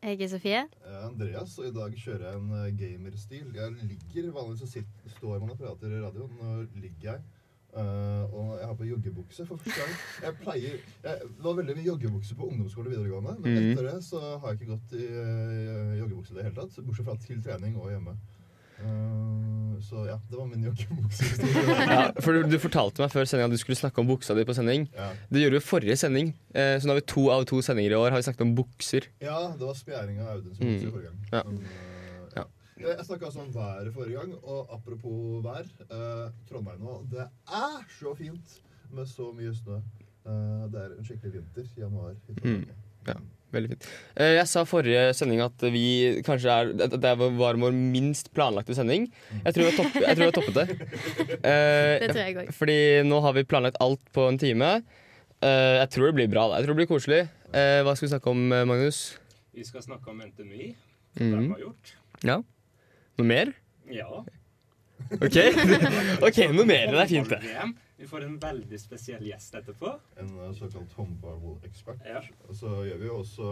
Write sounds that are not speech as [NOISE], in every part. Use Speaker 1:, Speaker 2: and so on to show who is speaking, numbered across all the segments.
Speaker 1: Jeg er Sofie.
Speaker 2: Jeg er Eh, Andreas, og i dag kjører jeg en eh, gamerstil. Jeg ligger vanligvis og sitter, står man og prater i radioen. Nå ligger jeg. eh, og jeg har på joggebukse for første gang. Jeg pleier Jeg var veldig mye joggebukse på ungdomsskole og videregående, men
Speaker 3: Mhm.
Speaker 2: etter det så har jeg ikke gått i eh, joggebukse i det hele tatt. Bortsett fra til trening og hjemme. Eh, så ja, det var min joggebuksehistorie.
Speaker 3: Ja, for du, du fortalte meg før sendinga at du skulle snakke om buksa di på sending.
Speaker 2: ja.
Speaker 3: Det gjorde vi i forrige sending, eh, så nå har vi to av to sendinger i år har vi snakket om bukser.
Speaker 2: Ja, det var spjæring av Audun som mm.
Speaker 3: Mm.
Speaker 2: forrige gang.
Speaker 3: Ja.
Speaker 2: Men, eh, ja. Jeg, jeg snakka altså om været forrige gang, og apropos vær. eh, Trondheim nå, det er så fint med så mye snø. Eh, det er en skikkelig vinter i januar. i Trondheim.
Speaker 3: Ja, veldig fint. Eh, Jeg sa forrige sending at vi kanskje er at Det var vår minst planlagte sending. Jeg tror vi har topp, jeg tror vi har toppet det. Eh,
Speaker 1: Det tror jeg òg.
Speaker 3: Fordi nå har vi planlagt alt på en time. Eh, jeg tror det blir bra. da. Jeg tror det blir koselig. Eh, hva skal vi snakke om, eh, Magnus?
Speaker 4: Vi skal snakke om NTNUI. Mm. Det var gjort.
Speaker 3: Ja. Noe mer?
Speaker 4: Ja.
Speaker 3: OK, [LAUGHS] Ok, noe mer. Det er fint, det.
Speaker 4: Håndball-VM. Vi får en veldig spesiell gjest etterpå.
Speaker 2: En eh, såkalt håndballekspert.
Speaker 4: Ja.
Speaker 2: Og så gjør vi jo også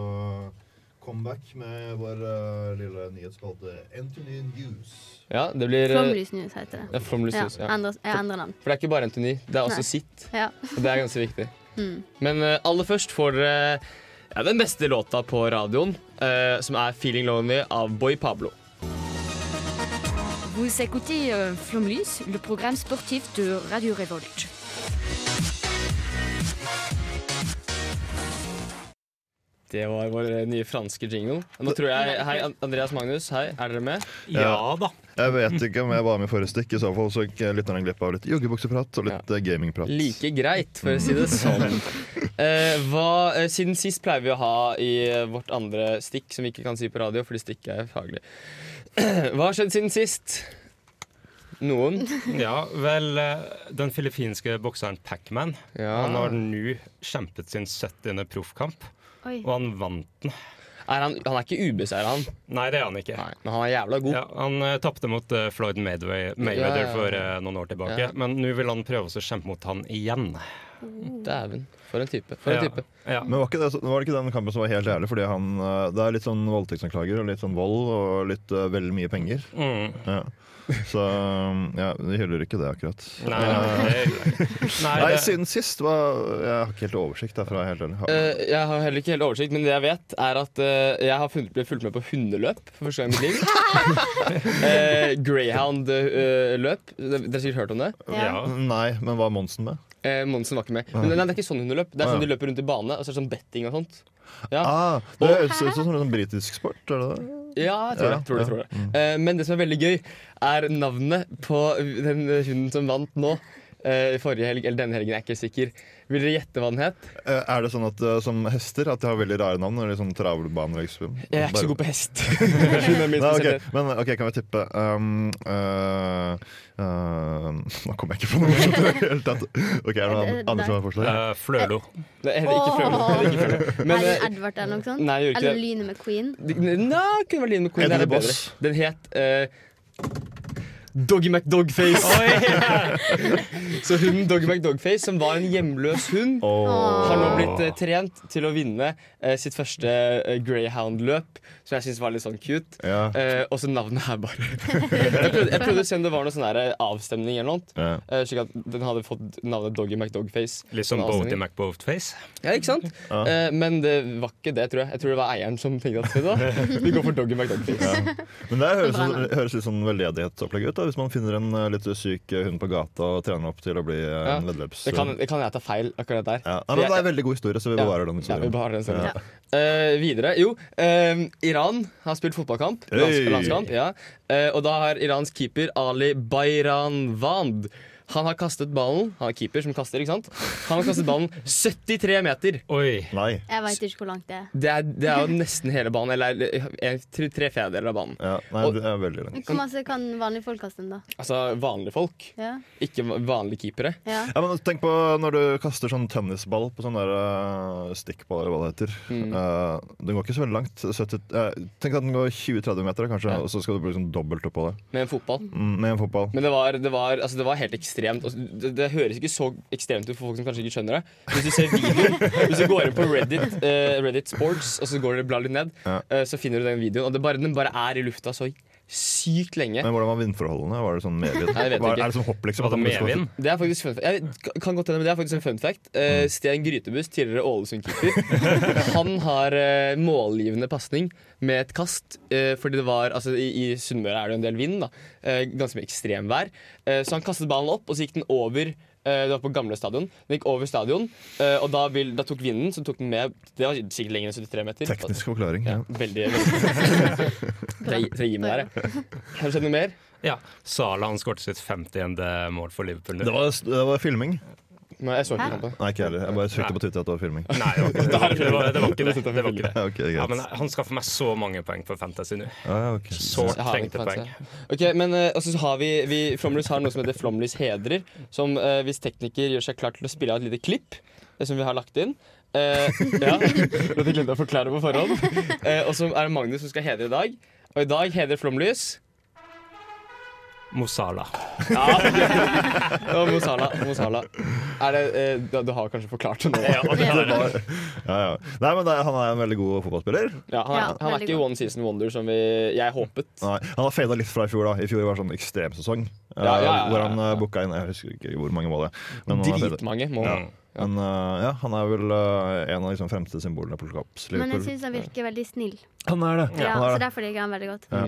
Speaker 2: comeback med vår eh, lille nyhetsspalte Anthony News.
Speaker 3: Ja, det blir eh,
Speaker 1: Flomlys News heter det.
Speaker 3: Ja, Flomlys
Speaker 1: Ja,
Speaker 3: News, ja.
Speaker 1: endrer, jeg endrer navn.
Speaker 3: For det er ikke bare Antony, det er også
Speaker 1: Nei. Mm.
Speaker 3: sitt.
Speaker 1: Ja.
Speaker 3: Og det er ganske viktig. Men eh, aller først får dere ja, den beste låta på radioen, eh, som er 'Feeling Lonely' av Boy Pablo.
Speaker 5: Vous écoutez euh, Flomlys, le programme sportif de Radio Révolte.
Speaker 3: Det var vår eh, nye franske jingle. Nå tror jeg, Hei, An- Andreas Magnus. Hei, er dere med?
Speaker 2: Ja
Speaker 6: da.
Speaker 2: Jeg vet ikke om jeg var med i forrige stikk. I så fall så gikk lytterne glipp av litt joggebukseprat og litt eh, gamingprat.
Speaker 3: Like greit, for å si det sånn.
Speaker 6: [LAUGHS]
Speaker 3: Eh, hva, eh, siden sist pleier vi å ha i eh, vårt andre stikk, som vi ikke kan si på radio, fordi stikk er faglig. [CLEARS THROAT] hva har skjedd siden sist? Noen?
Speaker 6: Ja, vel, eh, den filippinske bokseren Pacman
Speaker 3: Ja.
Speaker 6: Han har nå kjempet sin 70. proffkamp,
Speaker 1: Oi.
Speaker 6: og han vant den.
Speaker 3: Er han, han er ikke ubeseira, han.
Speaker 6: Nei, det er han ikke.
Speaker 3: Nei, men han er jævla god.
Speaker 6: Ja, han uh, tapte mot eh, Floyd Mayweather, Mayweather
Speaker 3: Ja, ja, ja.
Speaker 6: for eh, noen år tilbake,
Speaker 3: Ja.
Speaker 6: men nå vil han prøve å kjempe mot han igjen.
Speaker 3: Dæven. For en type. For en
Speaker 6: ja.
Speaker 3: type.
Speaker 6: Ja.
Speaker 2: Men var ikke det, så- var det ikke den kampen som var helt jævlig? Fordi han, eh, det er litt sånn voldtektsanklager og litt sånn vold og litt eh, veldig mye penger.
Speaker 6: Mm.
Speaker 2: Ja. Så um, ja, vi hyller ikke det akkurat.
Speaker 6: Nei, nei,
Speaker 3: [LAUGHS]
Speaker 6: det gjør jeg ikke. nei,
Speaker 2: Nei,
Speaker 6: det,
Speaker 2: siden sist var Jeg har ikke helt oversikt derfra, helt ærlig.
Speaker 3: Eh, jeg har heller ikke helt oversikt, men det jeg vet, er at eh, jeg har funnet, ble fulgt med på hundeløp for første gang i mitt liv.
Speaker 6: [LAUGHS]
Speaker 3: Eh, Greyhound-løp. Dere har sikkert hørt om det?
Speaker 6: ja.
Speaker 2: Nei, men hva er Monsen med?
Speaker 3: Eh, Monsen var ikke med. Men nei, det er ikke sånn hundeløp. Det er
Speaker 2: Ah,
Speaker 3: sånn
Speaker 2: ja.
Speaker 3: de løper rundt i bane, og så er det sånn betting og sånt. Ja,
Speaker 2: Ah, det høres ut som en sånn britisk sport, er det det?
Speaker 3: ja jeg tror det.
Speaker 2: Ja,
Speaker 3: Tror det,
Speaker 2: ja.
Speaker 3: tror det. Eh, men det som er veldig gøy, er navnet på den hunden som vant nå. eh, forrige helg, eller denne helgen, jeg er ikke sikker. Vil dere gjette hva den het?
Speaker 2: Eh, Er det sånn at eh, som hester at de har veldig rare navn? Eller sånn travlbane? Liksom?
Speaker 3: Jeg er ikke så god på [LAUGHS] hest. Hun er min
Speaker 2: Nei, ok,
Speaker 3: spesialitet.
Speaker 2: men ok, kan vi tippe um, eh, eh, [LAUGHS] Nå kom jeg ikke på noe morsomt i det hele tatt. Ok, er det noen andre som har forslag?
Speaker 6: Eh, Flølo.
Speaker 3: Nei, jeg ikke prøve. Jeg ikke prøve. Men,
Speaker 1: Eller
Speaker 3: eh,
Speaker 1: Edvard eller noe sånt.
Speaker 3: nei, jeg gjorde ikke det.
Speaker 1: Eller Lynet McQueen.
Speaker 3: De- Nei, kunne vært Line McQueen.
Speaker 2: Eddie
Speaker 3: Det er
Speaker 2: the
Speaker 3: bedre.
Speaker 2: Boss.
Speaker 3: Den het eh, Doggy McDogface. [LAUGHS] Så hunden Doggy McDogface, som var en hjemløs hund,
Speaker 2: Åh.
Speaker 3: har nå blitt eh, trent til å vinne eh, sitt første eh, greyhound-løp, som jeg syns var litt sånn cute.
Speaker 2: Ja.
Speaker 3: Eh, og så navnet her,
Speaker 2: [LAUGHS]
Speaker 3: bare. [LAUGHS] jeg, prøvde, jeg prøvde å se om det var noe sånn her, eh, avstemning eller noe.
Speaker 2: Ja.
Speaker 3: eh, Slik at den hadde fått navnet Doggy McDogface.
Speaker 6: Litt som liksom
Speaker 3: Sånn
Speaker 6: Boaty
Speaker 3: avstemning.
Speaker 6: McBoatface.
Speaker 3: Ja, ikke sant?
Speaker 2: Ja.
Speaker 3: Eh, men det var ikke det, tror jeg. Jeg tror det var eieren
Speaker 2: [LAUGHS]
Speaker 3: som tenkte at vet du hva, vi går for Doggy McDogface.
Speaker 2: Men det høres,
Speaker 1: Bra navn.
Speaker 2: høres litt sånn veldedighetsopplegg ut. Da. hvis man finner en eh, litt syk eh, hund på gata og trener opp til å bli eh,
Speaker 3: Ja,
Speaker 2: en veddeløps...
Speaker 3: Det kan, det kan jeg ta feil akkurat der.
Speaker 2: Ja. Nei, men det er en
Speaker 3: Jeg-
Speaker 2: veldig god historie, så vi
Speaker 3: Ja.
Speaker 2: bevarer den
Speaker 3: Ja, vi
Speaker 2: historien.
Speaker 3: bevarer den historien.
Speaker 2: Ja.
Speaker 3: Eh, videre. Jo, eh, Iran har spilt fotballkamp. Lands
Speaker 2: Hey!
Speaker 3: Landskamp, ja. Eh, og da har Irans keeper Ali Bayranvand Han har kastet ballen Han er keeper som kaster, ikke sant? Han har kastet ballen 73 meter.
Speaker 6: Oi.
Speaker 2: Nei.
Speaker 1: Jeg veit ikke hvor langt det er.
Speaker 3: Det er, det er jo nesten hele banen. Eller eh, tre, tre fjerdedeler av banen.
Speaker 2: Ja, nei,
Speaker 3: Og-
Speaker 2: det er veldig langt.
Speaker 1: Hvor masse kan vanlige folk kaste den, da?
Speaker 3: Altså vanlige folk,
Speaker 1: Ja.
Speaker 3: ikke vanlige keepere.
Speaker 1: ja.
Speaker 2: Ja, men tenk på når du kaster sånn tennisball på sånn der eh, stikkball, eller hva det heter. Eh, den går ikke så veldig langt. 70, eh, tenk at den går 20-30 meter, kanskje, og så skal du bruke sånn dobbelt oppå det.
Speaker 3: Med en fotball.
Speaker 2: Mm, med en fotball.
Speaker 3: Men det var, det var, altså det var helt ekstremt. Altså, Det, det høres ikke så ekstremt ut for folk som kanskje ikke skjønner det. Hvis du ser videoen, hvis du går inn på Reddit, eh, Reddit Sports, og så går det blar litt ned,
Speaker 2: Ja.
Speaker 3: eh, så finner du den videoen. Og det bare, den bare er i lufta så sykt lenge.
Speaker 2: Men hvordan var vindforholdene? Var det sånn medvind?
Speaker 3: Nei, jeg vet
Speaker 2: Var-
Speaker 3: ikke.
Speaker 2: Er det sånn hopp, liksom?
Speaker 6: Var det
Speaker 2: at den
Speaker 6: medvind?
Speaker 3: Det er faktisk fun fact. Jeg vet- kan godt hende, men det er faktisk en fun fact. Eh,
Speaker 6: Mm.
Speaker 3: Sten Grytebust, tidligere
Speaker 6: [LAUGHS]
Speaker 3: Ålesund-keeper, han har eh, målgivende pasning med et kast. Eh, fordi det var, altså I, i Sunnmøre er det jo en del vind. da eh, Ganske mye ekstremvær. Eh, så han kastet ballen opp, og så gikk den over. eh, Det var på gamle stadion. Den gikk over stadion, eh, og da, vil, da tok vinden så tok den med Det var sikkert lenger enn 73 meter.
Speaker 2: Teknisk forklaring.
Speaker 3: Ja,
Speaker 2: Ja.
Speaker 3: veldig, veldig. Tre- tre gir meg der, jeg. Har du sett noe mer?
Speaker 6: Ja. Sala han skåret sitt 50. mål for Liverpool.
Speaker 2: Det, var, det var filming.
Speaker 3: Nei, jeg så ikke kampen.
Speaker 2: Nei, ikke jeg heller. Jeg bare trykte på Twitter at det var filming.
Speaker 6: Nei, det var ikke det. Det var, det var ikke det. det, var ikke det.
Speaker 2: [LAUGHS] Ja, ok, greit.
Speaker 6: Ja, men han skaffer meg så mange poeng på Fantasy nå.
Speaker 2: Ja, ok.
Speaker 6: Sårt
Speaker 3: Jeg har ikke
Speaker 6: trengte poeng.
Speaker 3: fancy. Ok, men eh, altså, så har vi, vi Flomlys har noe som heter Flomlys hedrer. Som eh, hvis tekniker gjør seg klar til å spille av et lite klipp eh, som vi har lagt inn. Eh, [LAUGHS] ja, Lot jeg glemme å forklare på forhånd. [LAUGHS] Eh, og så er det Magnus som skal hedre i dag. Og i dag hedrer Flomlys
Speaker 6: Mo Salah.
Speaker 3: [LAUGHS] og Mosala. Mosala. Er det, eh, du, du har kanskje forklart det nå? Ja,
Speaker 2: Ja, ja. Nei, men det, han er en veldig god fotballspiller.
Speaker 3: han, er,
Speaker 1: Ja,
Speaker 3: han er
Speaker 1: veldig
Speaker 3: ikke
Speaker 1: god.
Speaker 3: one season wonder som vi, jeg håpet.
Speaker 2: Nei, han har fada litt fra i fjor. da I fjor var det sånn ekstremsesong. eh,
Speaker 3: Ja, ja, ja, ja.
Speaker 2: Hvor han uh, booka inn Jeg husker ikke hvor mange mål det er. men han har fadet.
Speaker 3: Dritmange må
Speaker 2: Ja. Men eh, ja, han er vel eh, en av liksom, fremste symbolene på Liverpool.
Speaker 1: Men jeg syns han virker veldig snill.
Speaker 2: Han er det!
Speaker 1: Ja,
Speaker 2: han
Speaker 1: så
Speaker 2: er det.
Speaker 1: derfor liker jeg han veldig godt.
Speaker 3: Han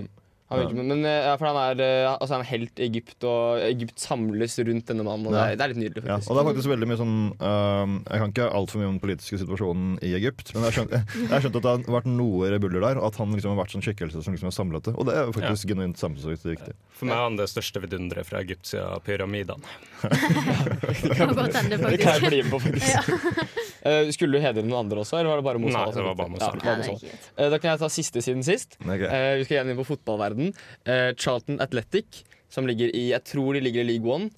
Speaker 3: virker, men- Men eh, ja, for han er eh, altså, han er helt i Egypt, og Egypt samles rundt denne mannen. Og det,
Speaker 2: Ja.
Speaker 3: er, det er litt nydelig,
Speaker 2: Ja,
Speaker 3: faktisk.
Speaker 2: og det er faktisk veldig mye sånn eh, Jeg kan ikke altfor mye om den politiske situasjonen i Egypt, men jeg har skjønt, [LAUGHS] jeg har skjønt at det har vært noe rebuller der, og at han liksom har vært sånn skikkelse som liksom har samlet det. Og det er faktisk genuint samfunnsriktig viktig.
Speaker 6: For meg er han det største vidunderet fra Egypt siden pyramidene.
Speaker 1: Det kan godt hende,
Speaker 3: Det kan
Speaker 1: faktisk.
Speaker 3: jeg bli med på, faktisk. [LAUGHS] Eh, Skulle du hedre noen andre også, eller var det bare Mozala?
Speaker 6: Nei, det var bare Mozart.
Speaker 3: Ja,
Speaker 1: Ja,
Speaker 3: bare
Speaker 1: det er
Speaker 3: Mozart.
Speaker 1: ikke greit.
Speaker 3: Eh, Da kan jeg ta siste siden sist.
Speaker 2: Ok.
Speaker 3: Eh, Vi skal igjen inn på fotballverden. Eh, Charlton Athletic, som ligger i Jeg tror de ligger i League One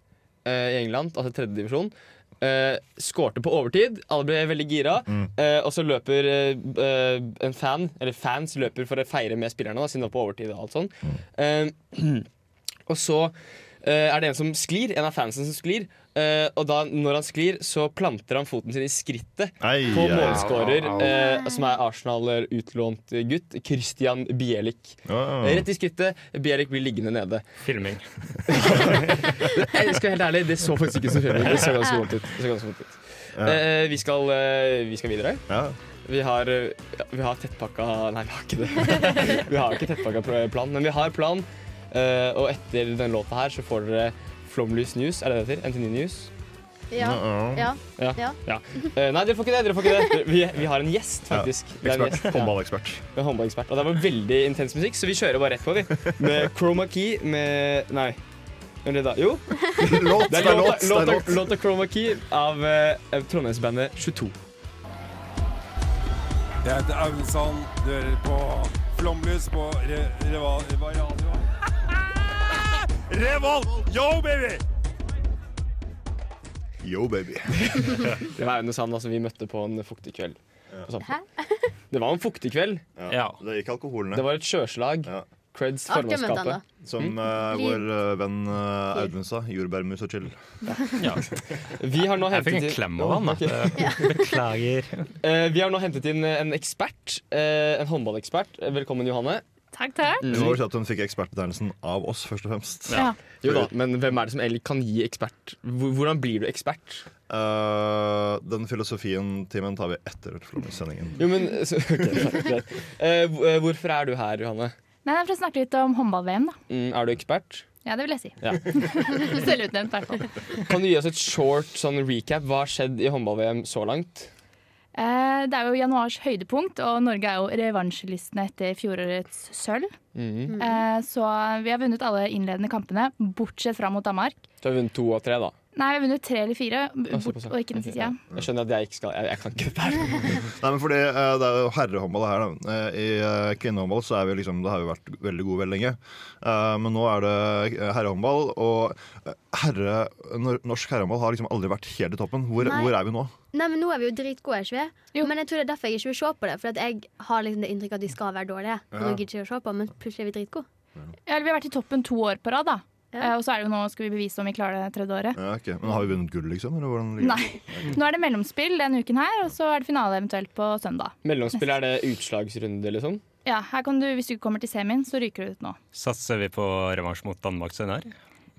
Speaker 3: eh, i England, altså tredje divisjon. Eh, skårte på overtid. Alle ble veldig gira. Eh, og så løper eh, b- eh, en fan, eller fans løper for å feire med spillerne, da, siden det var på overtid. og alt sånn. Eh, [CLEARS THROAT] og så eh, er det en som sklir, en av fansen som sklir. eh, og da, når han sklir, så planter han foten sin i skrittet
Speaker 2: Ei,
Speaker 3: på
Speaker 2: ei, ei.
Speaker 3: målskårer,
Speaker 6: Au, au,
Speaker 3: eh, som er Arsenal-utlånt gutt, Christian Bielik.
Speaker 2: Ja, ja.
Speaker 3: Rett i skrittet. Bielik blir liggende nede.
Speaker 6: Filming.
Speaker 3: Jeg skal være helt ærlig, Det så faktisk ikke så fint ut. Det så ganske vondt ut. Det så ganske vondt ut. Eh, vi, skal, eh, vi skal videre.
Speaker 2: Ja.
Speaker 3: Vi har, eh, ja, vi har tettpakka Nei, vi har ikke det. [LAUGHS] Vi har ikke tettpakka pro- plan, men vi har plan. Eh, og etter den låta her så får dere Flomlys News, er det det heter? NTNU News?
Speaker 1: Ja, ja, ja.
Speaker 3: Ja. Eh, nei, dere får ikke det. dere får ikke det. Vi, vi har en gjest, faktisk. Det er en
Speaker 2: Ekspert.
Speaker 3: gjest. Ja.
Speaker 2: Håndballekspert.
Speaker 3: med håndballekspert. Og det var veldig intens musikk, så vi kjører bare rett på, vi. Med Chroma Key med Nei. Eller da Jo.
Speaker 2: Låt,
Speaker 3: [LAUGHS] Det er låta, låta, låta Chroma Key av eh, Trondheimsbandet 22.
Speaker 7: Jeg heter Aunesand. Du hører på Flomlys på Re Reva Reva Radio. [LAUGHS] Revolt! Yo, baby!
Speaker 2: Yo, baby.
Speaker 3: Det var Aune Sand altså, vi møtte på en fuktig kveld. På Samfunn.
Speaker 1: Hæ?
Speaker 3: [LAUGHS] det var en fuktig kveld.
Speaker 6: Ja.
Speaker 2: Det gikk alkoholen
Speaker 3: Det var Mm. et sjøslag.
Speaker 2: Ja.
Speaker 3: Creds
Speaker 1: Artig å møte han, da.
Speaker 3: formannskapet.
Speaker 2: Som eh,
Speaker 1: Liv.
Speaker 2: vår eh, venn eh, Audun sa. Jordbærmus og chill.
Speaker 3: Mm.
Speaker 6: ja.
Speaker 3: Vi har nå
Speaker 6: Jeg fikk en
Speaker 3: hentet inn,
Speaker 6: klem av han. da. Beklager.
Speaker 3: eh, vi har nå hentet inn en ekspert. eh, en håndballekspert. Velkommen, Johanne.
Speaker 8: Takk, takk.
Speaker 2: Det var vel sånn at Hun fikk ekspertbetegnelsen av oss, først og fremst.
Speaker 8: Ja.
Speaker 3: Jo da, Men hvem er det som egentlig kan gi ekspert? Hvor- Hvordan blir du ekspert?
Speaker 2: Eh, den filosofien-timen tar vi etter Flåmlys-sendingen.
Speaker 3: Jo, men [LAUGHS] så, ok, greit. Eh, hvor- eh, Hvorfor er du her, Johanne?
Speaker 9: Nei, det er for å snakke litt om håndball-VM, da.
Speaker 3: Mm, er du ekspert?
Speaker 9: Ja, det vil jeg si.
Speaker 3: Ja.
Speaker 9: [LAUGHS] Selvutnevnt, i hvert fall.
Speaker 3: Kan du gi oss et short sånn recap? Hva har skjedd i håndball-VM så langt?
Speaker 9: Eh, Det er jo januars høydepunkt, og Norge er jo revansjelistene etter fjorårets sølv.
Speaker 3: Mhm.
Speaker 9: Eh, Så vi har vunnet alle innledende kampene, bortsett fra mot Danmark.
Speaker 3: Du har vunnet to av tre, da.
Speaker 9: Nei, vi har vunnet tre eller fire, b-
Speaker 3: Ah,
Speaker 9: bort,
Speaker 3: såpass, ja.
Speaker 9: og ikke den
Speaker 3: Ok,
Speaker 9: siste.
Speaker 3: ja.
Speaker 9: Ja.
Speaker 3: Jeg skjønner at jeg ikke skal Jeg, jeg kan ikke sånn. dette her.
Speaker 9: [LAUGHS]
Speaker 2: Nei, men fordi eh, Det er jo herrehåndball her. Da. Eh, I eh, kvinnehåndball så er vi liksom, det har vi vært veldig gode veldig lenge. Eh, Men nå er det eh, herrehåndball, og eh, herre, nor- norsk herrehåndball har liksom aldri vært helt i toppen. Hvor,
Speaker 1: Nei.
Speaker 2: hvor er vi nå?
Speaker 1: Nei, men Nå er vi jo dritgode, er ikke vi? Men jeg tror det er derfor jeg ikke vil se på det. For at jeg har liksom det inntrykket at vi skal være dårlige. Og nå
Speaker 9: Ja.
Speaker 1: gidder jeg ikke å se på, men plutselig er vi dritgode.
Speaker 9: Ja, eller vi har vært i toppen to år på rad, da. Eh, Og så er det jo nå skal vi bevise om vi klarer det tredje året.
Speaker 2: Ja, ok. Men har vi vunnet gull, liksom? Eller hvordan ligger det?
Speaker 9: Nei. Nå er det mellomspill denne uken her, og så er det finale eventuelt på søndag.
Speaker 3: Mellomspill, er det utslagsrunde, liksom?
Speaker 9: Ja, her kan du, Hvis du ikke kommer til semien, så ryker du ut nå.
Speaker 6: Satser vi på revansj mot Danmark senere?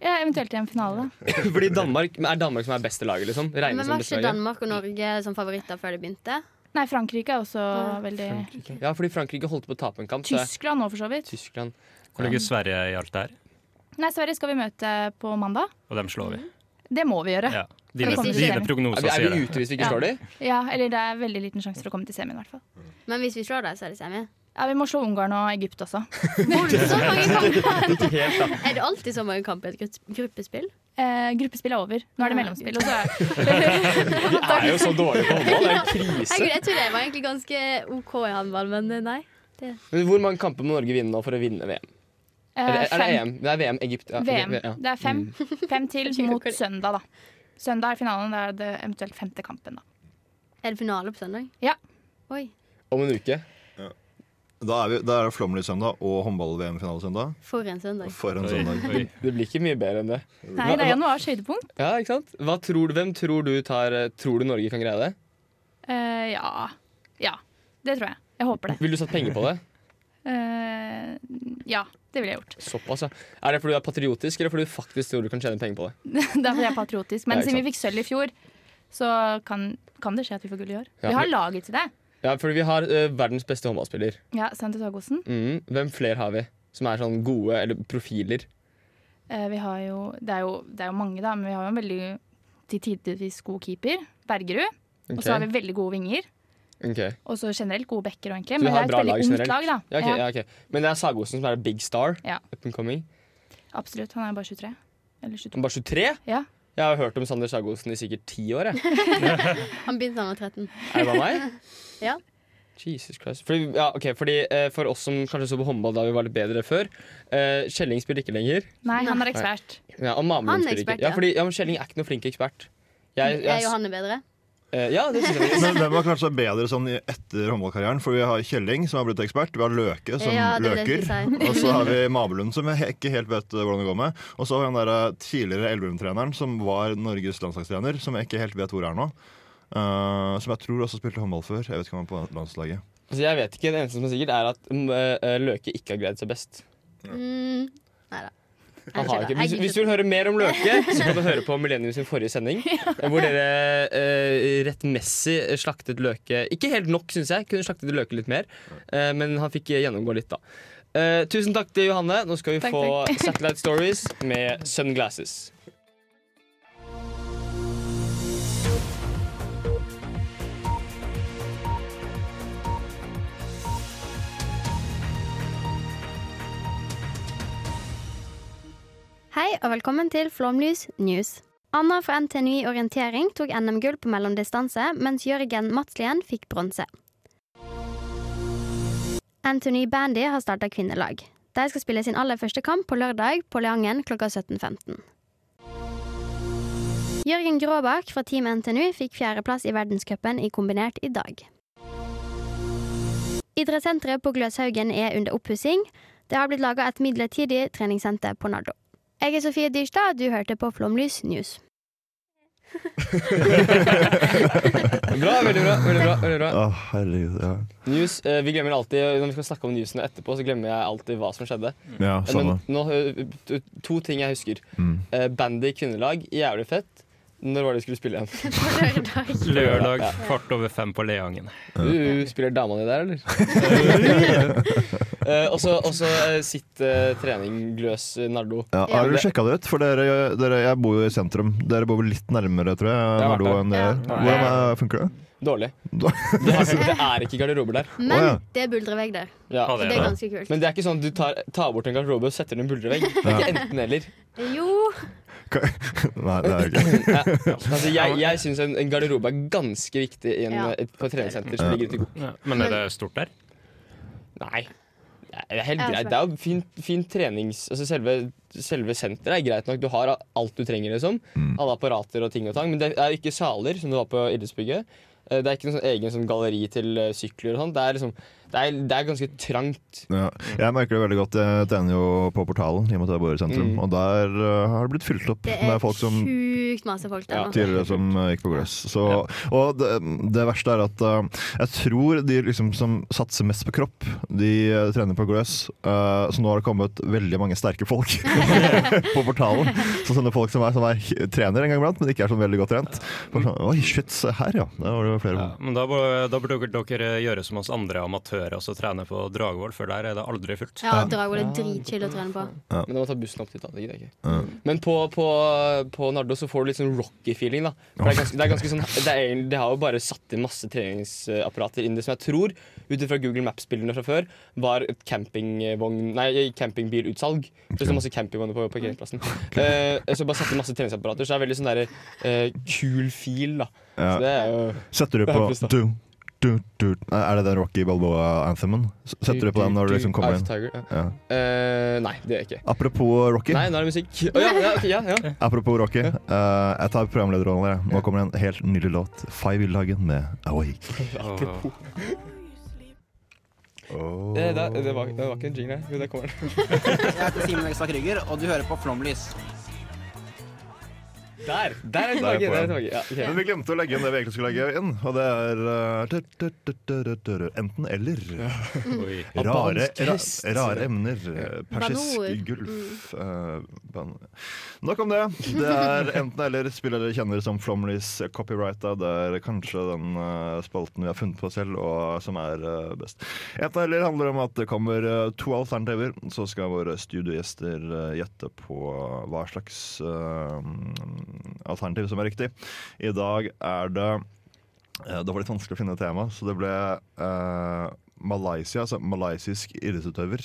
Speaker 9: Ja, eventuelt i en finale, da.
Speaker 3: [LAUGHS] Fordi Danmark men er Danmark som er beste laget, liksom?
Speaker 1: Men
Speaker 3: Regnes som
Speaker 1: var
Speaker 3: beste
Speaker 1: ikke
Speaker 3: laget?
Speaker 1: Danmark og Norge som favoritter før det begynte?
Speaker 9: Nei, Frankrike er også veldig
Speaker 3: Ja, fordi Frankrike holdt på å tape en kamp. så-
Speaker 9: Tyskland nå, for så vidt.
Speaker 3: Tyskland.
Speaker 6: Hvor ligger Sverige i alt det her?
Speaker 9: Nei, Sverige skal vi møte på mandag.
Speaker 6: Og dem slår vi.
Speaker 9: Det må vi gjøre.
Speaker 6: Ja.
Speaker 9: For
Speaker 6: Dine,
Speaker 9: å komme til
Speaker 6: dine
Speaker 9: semien.
Speaker 6: prognoser sier det.
Speaker 1: Ja.
Speaker 9: Ja, eller det er veldig liten sjanse for å komme til semien, i hvert fall.
Speaker 1: Men hvis vi slår dem, så er det semi.
Speaker 9: Ja, vi må slå Ungarn og Egypt også.
Speaker 1: Er det alltid så mange kamper i et grupps- gruppespill?
Speaker 9: Eh, gruppespill er over. Nå er det mellomspill. Og så er
Speaker 3: Vi er jo så dårlige på håndball. Det er jo
Speaker 1: Jeg,
Speaker 3: krise.
Speaker 1: jeg tror det var egentlig ganske OK i håndball, men eh, nei. Det.
Speaker 3: Men hvor mange kamper må Norge vinne nå for å vinne VM?
Speaker 9: Eh,
Speaker 3: Eller er det
Speaker 9: fem.
Speaker 3: EM? Det er VM Egypt. ja.
Speaker 9: VM.
Speaker 3: Ja. Mm.
Speaker 9: Det er fem. [LAUGHS] Fem til mot søndag, da. Søndag er finalen. Det er det eventuelt femte kampen, da.
Speaker 1: Er det finale på søndag?
Speaker 9: Ja.
Speaker 1: Oi.
Speaker 3: Om en uke.
Speaker 2: Da er, vi, da er det Flåmlys-søndag og håndball-VM-finalesøndag.
Speaker 1: For en søndag.
Speaker 2: For en søndag.
Speaker 3: Det blir ikke mye bedre enn det.
Speaker 9: Nei, det er januars høydepunkt.
Speaker 3: Ja, ikke sant? Hva tror du, hvem tror du tar eh, Tror du Norge kan greie det?
Speaker 9: Eh, ja. Ja. Det tror jeg. Jeg håper det.
Speaker 3: Vil du satt penger på det?
Speaker 9: Eh, ja, det ville jeg gjort. [LAUGHS]
Speaker 3: Såpass, ja. Er det fordi du er patriotisk, eller fordi du faktisk tror du kan tjene penger på det?
Speaker 9: det er fordi jeg er patriotisk.
Speaker 3: Ja,
Speaker 9: Men
Speaker 3: ikke
Speaker 9: siden
Speaker 3: sant.
Speaker 9: vi fikk sølv i fjor, så kan, kan det skje at vi får gull i år.
Speaker 3: Ja,
Speaker 9: vi har
Speaker 3: men-
Speaker 9: laget til det.
Speaker 3: Ja, fordi vi har eh, verdens beste håndballspiller.
Speaker 9: Ja, Santi Sagosen.
Speaker 3: Mm. Hvem flere har vi som er sånn gode, eller profiler?
Speaker 9: Eh, vi har jo det, er jo det er jo mange, da, men vi har jo en veldig til tidvis god keeper. Bergerud. Og
Speaker 3: Ok.
Speaker 9: så har vi veldig gode vinger.
Speaker 3: Ok
Speaker 9: Og så generelt gode backer, egentlig.
Speaker 3: Så
Speaker 9: Men
Speaker 3: vi
Speaker 9: det
Speaker 3: har et
Speaker 9: er et
Speaker 3: bra
Speaker 9: veldig
Speaker 3: lag
Speaker 9: ungt
Speaker 3: generelt.
Speaker 9: lag, da.
Speaker 3: Ja, ok,
Speaker 9: Ja,
Speaker 3: ja, ok. Men det er Sagosen som er big star.
Speaker 9: Ja.
Speaker 3: Up and coming.
Speaker 9: absolutt. Han er jo bare 23. Eller 22.
Speaker 3: Han er bare 23?
Speaker 9: Ja.
Speaker 3: Jeg har hørt om Sander Sagosen i sikkert ti år. Jeg.
Speaker 1: Han begynte da han var 13.
Speaker 3: Er det bare meg?
Speaker 1: [LAUGHS] Ja.
Speaker 3: Jesus Christ. Fordi, ja, ok, fordi eh, For oss som kanskje så på håndball da vi var litt bedre før eh, Kjelling spiller ikke lenger.
Speaker 9: Nei, han er
Speaker 3: Nei.
Speaker 9: ekspert.
Speaker 3: Ja, og Mamlund
Speaker 1: Han er
Speaker 3: spiller
Speaker 1: ekspert,
Speaker 3: ikke. Ja,
Speaker 1: ja.
Speaker 3: fordi, ja, men Kjelling er ikke noen flink ekspert. Jeg,
Speaker 1: Er Johanne bedre?
Speaker 3: eh, ja, det synes jeg.
Speaker 2: Men
Speaker 3: [LAUGHS]
Speaker 2: hvem har klart seg bedre sånn i- etter håndballkarrieren? For vi har Kjelling, som har blitt ekspert. Vi har Løke, som
Speaker 1: Ja, det er
Speaker 2: løker.
Speaker 1: det jeg skulle si.
Speaker 2: Og så har vi Mabelund, som jeg he- ikke helt vet uh, hvordan det går med. Og så har vi den der uh, tidligere Elverum-treneren, som var Norges landslagstrener, som jeg ikke helt vet hvor er nå. Uh, som jeg tror også spilte håndball før. Jeg vet ikke om han er på landslaget.
Speaker 3: Altså, jeg vet ikke, Det eneste som er sikkert, er at mm, eh, Løke ikke har greid seg best.
Speaker 1: Mm. Nei da.
Speaker 3: Han har ikke. Hvis, hvis du vil høre mer om Løke, så kan du høre på Millennium sin forrige sending.
Speaker 10: [LAUGHS]
Speaker 3: eh, Hvor dere eh, rettmessig slaktet Løke Ikke helt nok, syns jeg. Kunne slaktet Løke litt mer. Eh, men han fikk gjennomgå litt, da. Eh, tusen takk til Johanne. Nå skal vi
Speaker 10: Takk,
Speaker 3: få
Speaker 10: takk. [LAUGHS]
Speaker 3: Satellite Stories med Sunglasses.
Speaker 1: Hei og velkommen til Flåmlys news. Anna fra NTNU orientering tok NM-gull på mellomdistanse, mens Jørgen Matslien fikk bronse. NTNU Bandy har starta kvinnelag. De skal spille sin aller første kamp på lørdag på Leangen klokka 17.15. Jørgen Gråbakk fra Team NTNU fikk fjerdeplass i verdenscupen i kombinert i dag. Idrettssenteret på Gløshaugen er under oppussing. Det har blitt laga et midlertidig treningssenter på Nardo. Jeg er Sofie Dyrstad, du hørte på Flomlys News.
Speaker 3: Bra, veldig bra. veldig bra, veldig bra.
Speaker 2: Å, herregud, ja.
Speaker 3: News, eh, vi glemmer alltid Når vi skal snakke om newsene etterpå, så glemmer jeg alltid hva som skjedde.
Speaker 2: Ja,
Speaker 3: Eh,
Speaker 2: samme.
Speaker 3: Men nå, eh, to- to ting jeg husker.
Speaker 2: Mm.
Speaker 3: Eh, Bandy kvinnelag, jævlig fett. Når var det de skulle spille igjen?
Speaker 6: Lørdag
Speaker 3: Ja.
Speaker 6: kvart over fem på Leangen.
Speaker 3: Du spiller dama di der, eller? Eh, og så- og så eh, sitt eh, trening Gløs eh, Nardo.
Speaker 2: Ja, har dere sjekka det ut? For dere, dere, jeg bor jo i sentrum. Dere bor vel litt nærmere, tror jeg,
Speaker 3: Jeg har vært
Speaker 2: Nardo
Speaker 3: der.
Speaker 2: enn det
Speaker 3: Ja.
Speaker 2: gjør. Hvordan eh, funker det?
Speaker 3: Dårlig. Det er, det er ikke garderober der.
Speaker 1: Men det er buldrevegg der.
Speaker 3: Ja.
Speaker 1: Så det er ganske kult.
Speaker 3: Men det er ikke sånn at du tar, tar bort en garderobe og setter den i en buldrevegg. Det er
Speaker 2: Ja.
Speaker 3: ikke enten-eller.
Speaker 1: Eh, Jo
Speaker 2: [LAUGHS] Nei, det er jo ikke
Speaker 3: Ja. Altså, jeg jeg syns en, en garderobe er ganske viktig i en,
Speaker 1: Ja.
Speaker 3: et, på et treningssenter som
Speaker 2: Ja.
Speaker 3: ligger ute i Gok.
Speaker 6: Ja, men er det stort der?
Speaker 3: Nei. Det er helt
Speaker 1: Ja,
Speaker 3: greit.
Speaker 1: svært.
Speaker 3: Det er jo fint, fint trenings... Altså selve, selve senteret er greit nok. Du har alt du trenger, liksom. Alle apparater og ting og tang. Men det er jo ikke saler, som det var på idrettsbygget. Eh, Det er ikke noen sånn egen sånn galleri til eh, sykler og sånn. Det er liksom Det er, det er ganske trangt.
Speaker 2: ja. Jeg merker det veldig godt. Jeg trener jo på Portalen, i og med at jeg bor i sentrum.
Speaker 3: Mm.
Speaker 2: Og der eh, har det blitt fylt opp
Speaker 1: Det
Speaker 2: med
Speaker 1: er
Speaker 2: folk som
Speaker 1: sjukt masse folk der nå.
Speaker 2: tidligere som eh, gikk på gløss. Så, og det, det verste er at eh, jeg tror de liksom som satser mest på kropp, de eh, trener på gløss. eh, så nå har det kommet veldig mange sterke folk [LAUGHS] på portalen. Så sånne folk som er, som er h- trener en gang iblant, men ikke er sånn veldig godt trent. Bare sånn, Oi, shit, se her ja. Der var det flere.
Speaker 6: Ja, men da, bør- da burde dere- dere gjøre som oss andre amatører og trene på Dragvoll, for der er det aldri fullt.
Speaker 1: Ja, Dragvoll er dritchill å trene på.
Speaker 3: Men da må du ta bussen opp dit, da. Det gidder jeg ikke.
Speaker 2: Ja.
Speaker 3: Men på, på, på Nardo så får du litt sånn rocky-feeling, da. For det, er ganske, det, er ganske sånn, det, er, det har jo bare satt inn masse treningsapparater inn det som jeg tror, ut ifra Google Maps-bildene fra før, var et campingvogn Nei, campingbilutsalg. Så det står masse campingvogner på parkeringsplassen. Eh, så bare satt inn masse treningsapparater. Så det er veldig sånn derre eh, kul feel, da.
Speaker 2: Ja.
Speaker 3: Så det er jo
Speaker 2: Setter du
Speaker 3: Det er
Speaker 2: på
Speaker 3: pluss, da.
Speaker 2: du, du, du. Nei, Er det den Rocky Balboa-anthemen? S- Setter du på den når du liksom kommer inn?
Speaker 3: Ice Tiger, ja.
Speaker 2: Ja.
Speaker 3: Eh, nei, det gjør jeg ikke.
Speaker 2: Apropos Rocky.
Speaker 3: Nei, nå er det musikk. Å ja, ja, ok, ja, ja.
Speaker 2: Apropos Rocky, eh, jeg tar programlederrollen. jeg. Nå kommer en helt nydelig låt. Five Lagen med Awake.
Speaker 3: Apropos. Det, det, det, var, det var ikke en jingle her. Jo, det kommer den.
Speaker 10: Jeg heter Simen Vegstad Krüger, og du hører på Flomlys.
Speaker 3: Der! Der er
Speaker 2: Der er
Speaker 3: tilbake. Der er
Speaker 2: poenget.
Speaker 3: tilbake. Ja, ok.
Speaker 2: Men vi glemte å legge inn det vi egentlig skulle legge inn, og det er eh, tut, tut, tut, tut, tut, tut, enten-eller.
Speaker 6: Oi.
Speaker 2: Rare,
Speaker 3: Albansk
Speaker 2: ra,
Speaker 3: hest.
Speaker 2: rare emner. eh, Persisk
Speaker 1: Banor.
Speaker 2: gulf eh, ban Nok om det. Det er enten-eller spill dere kjenner som Flomlys copyrighta. Det er kanskje den eh, spalten vi har funnet på selv, og som er eh, best. Enten-eller handler om at det kommer eh, to alternativer. Så skal våre studiogjester eh, gjette på hva slags eh, alternativ som er riktig. I dag er det Eh, Det var litt vanskelig å finne tema, så det ble eh, Malaysia, altså malaysisk idrettsutøver.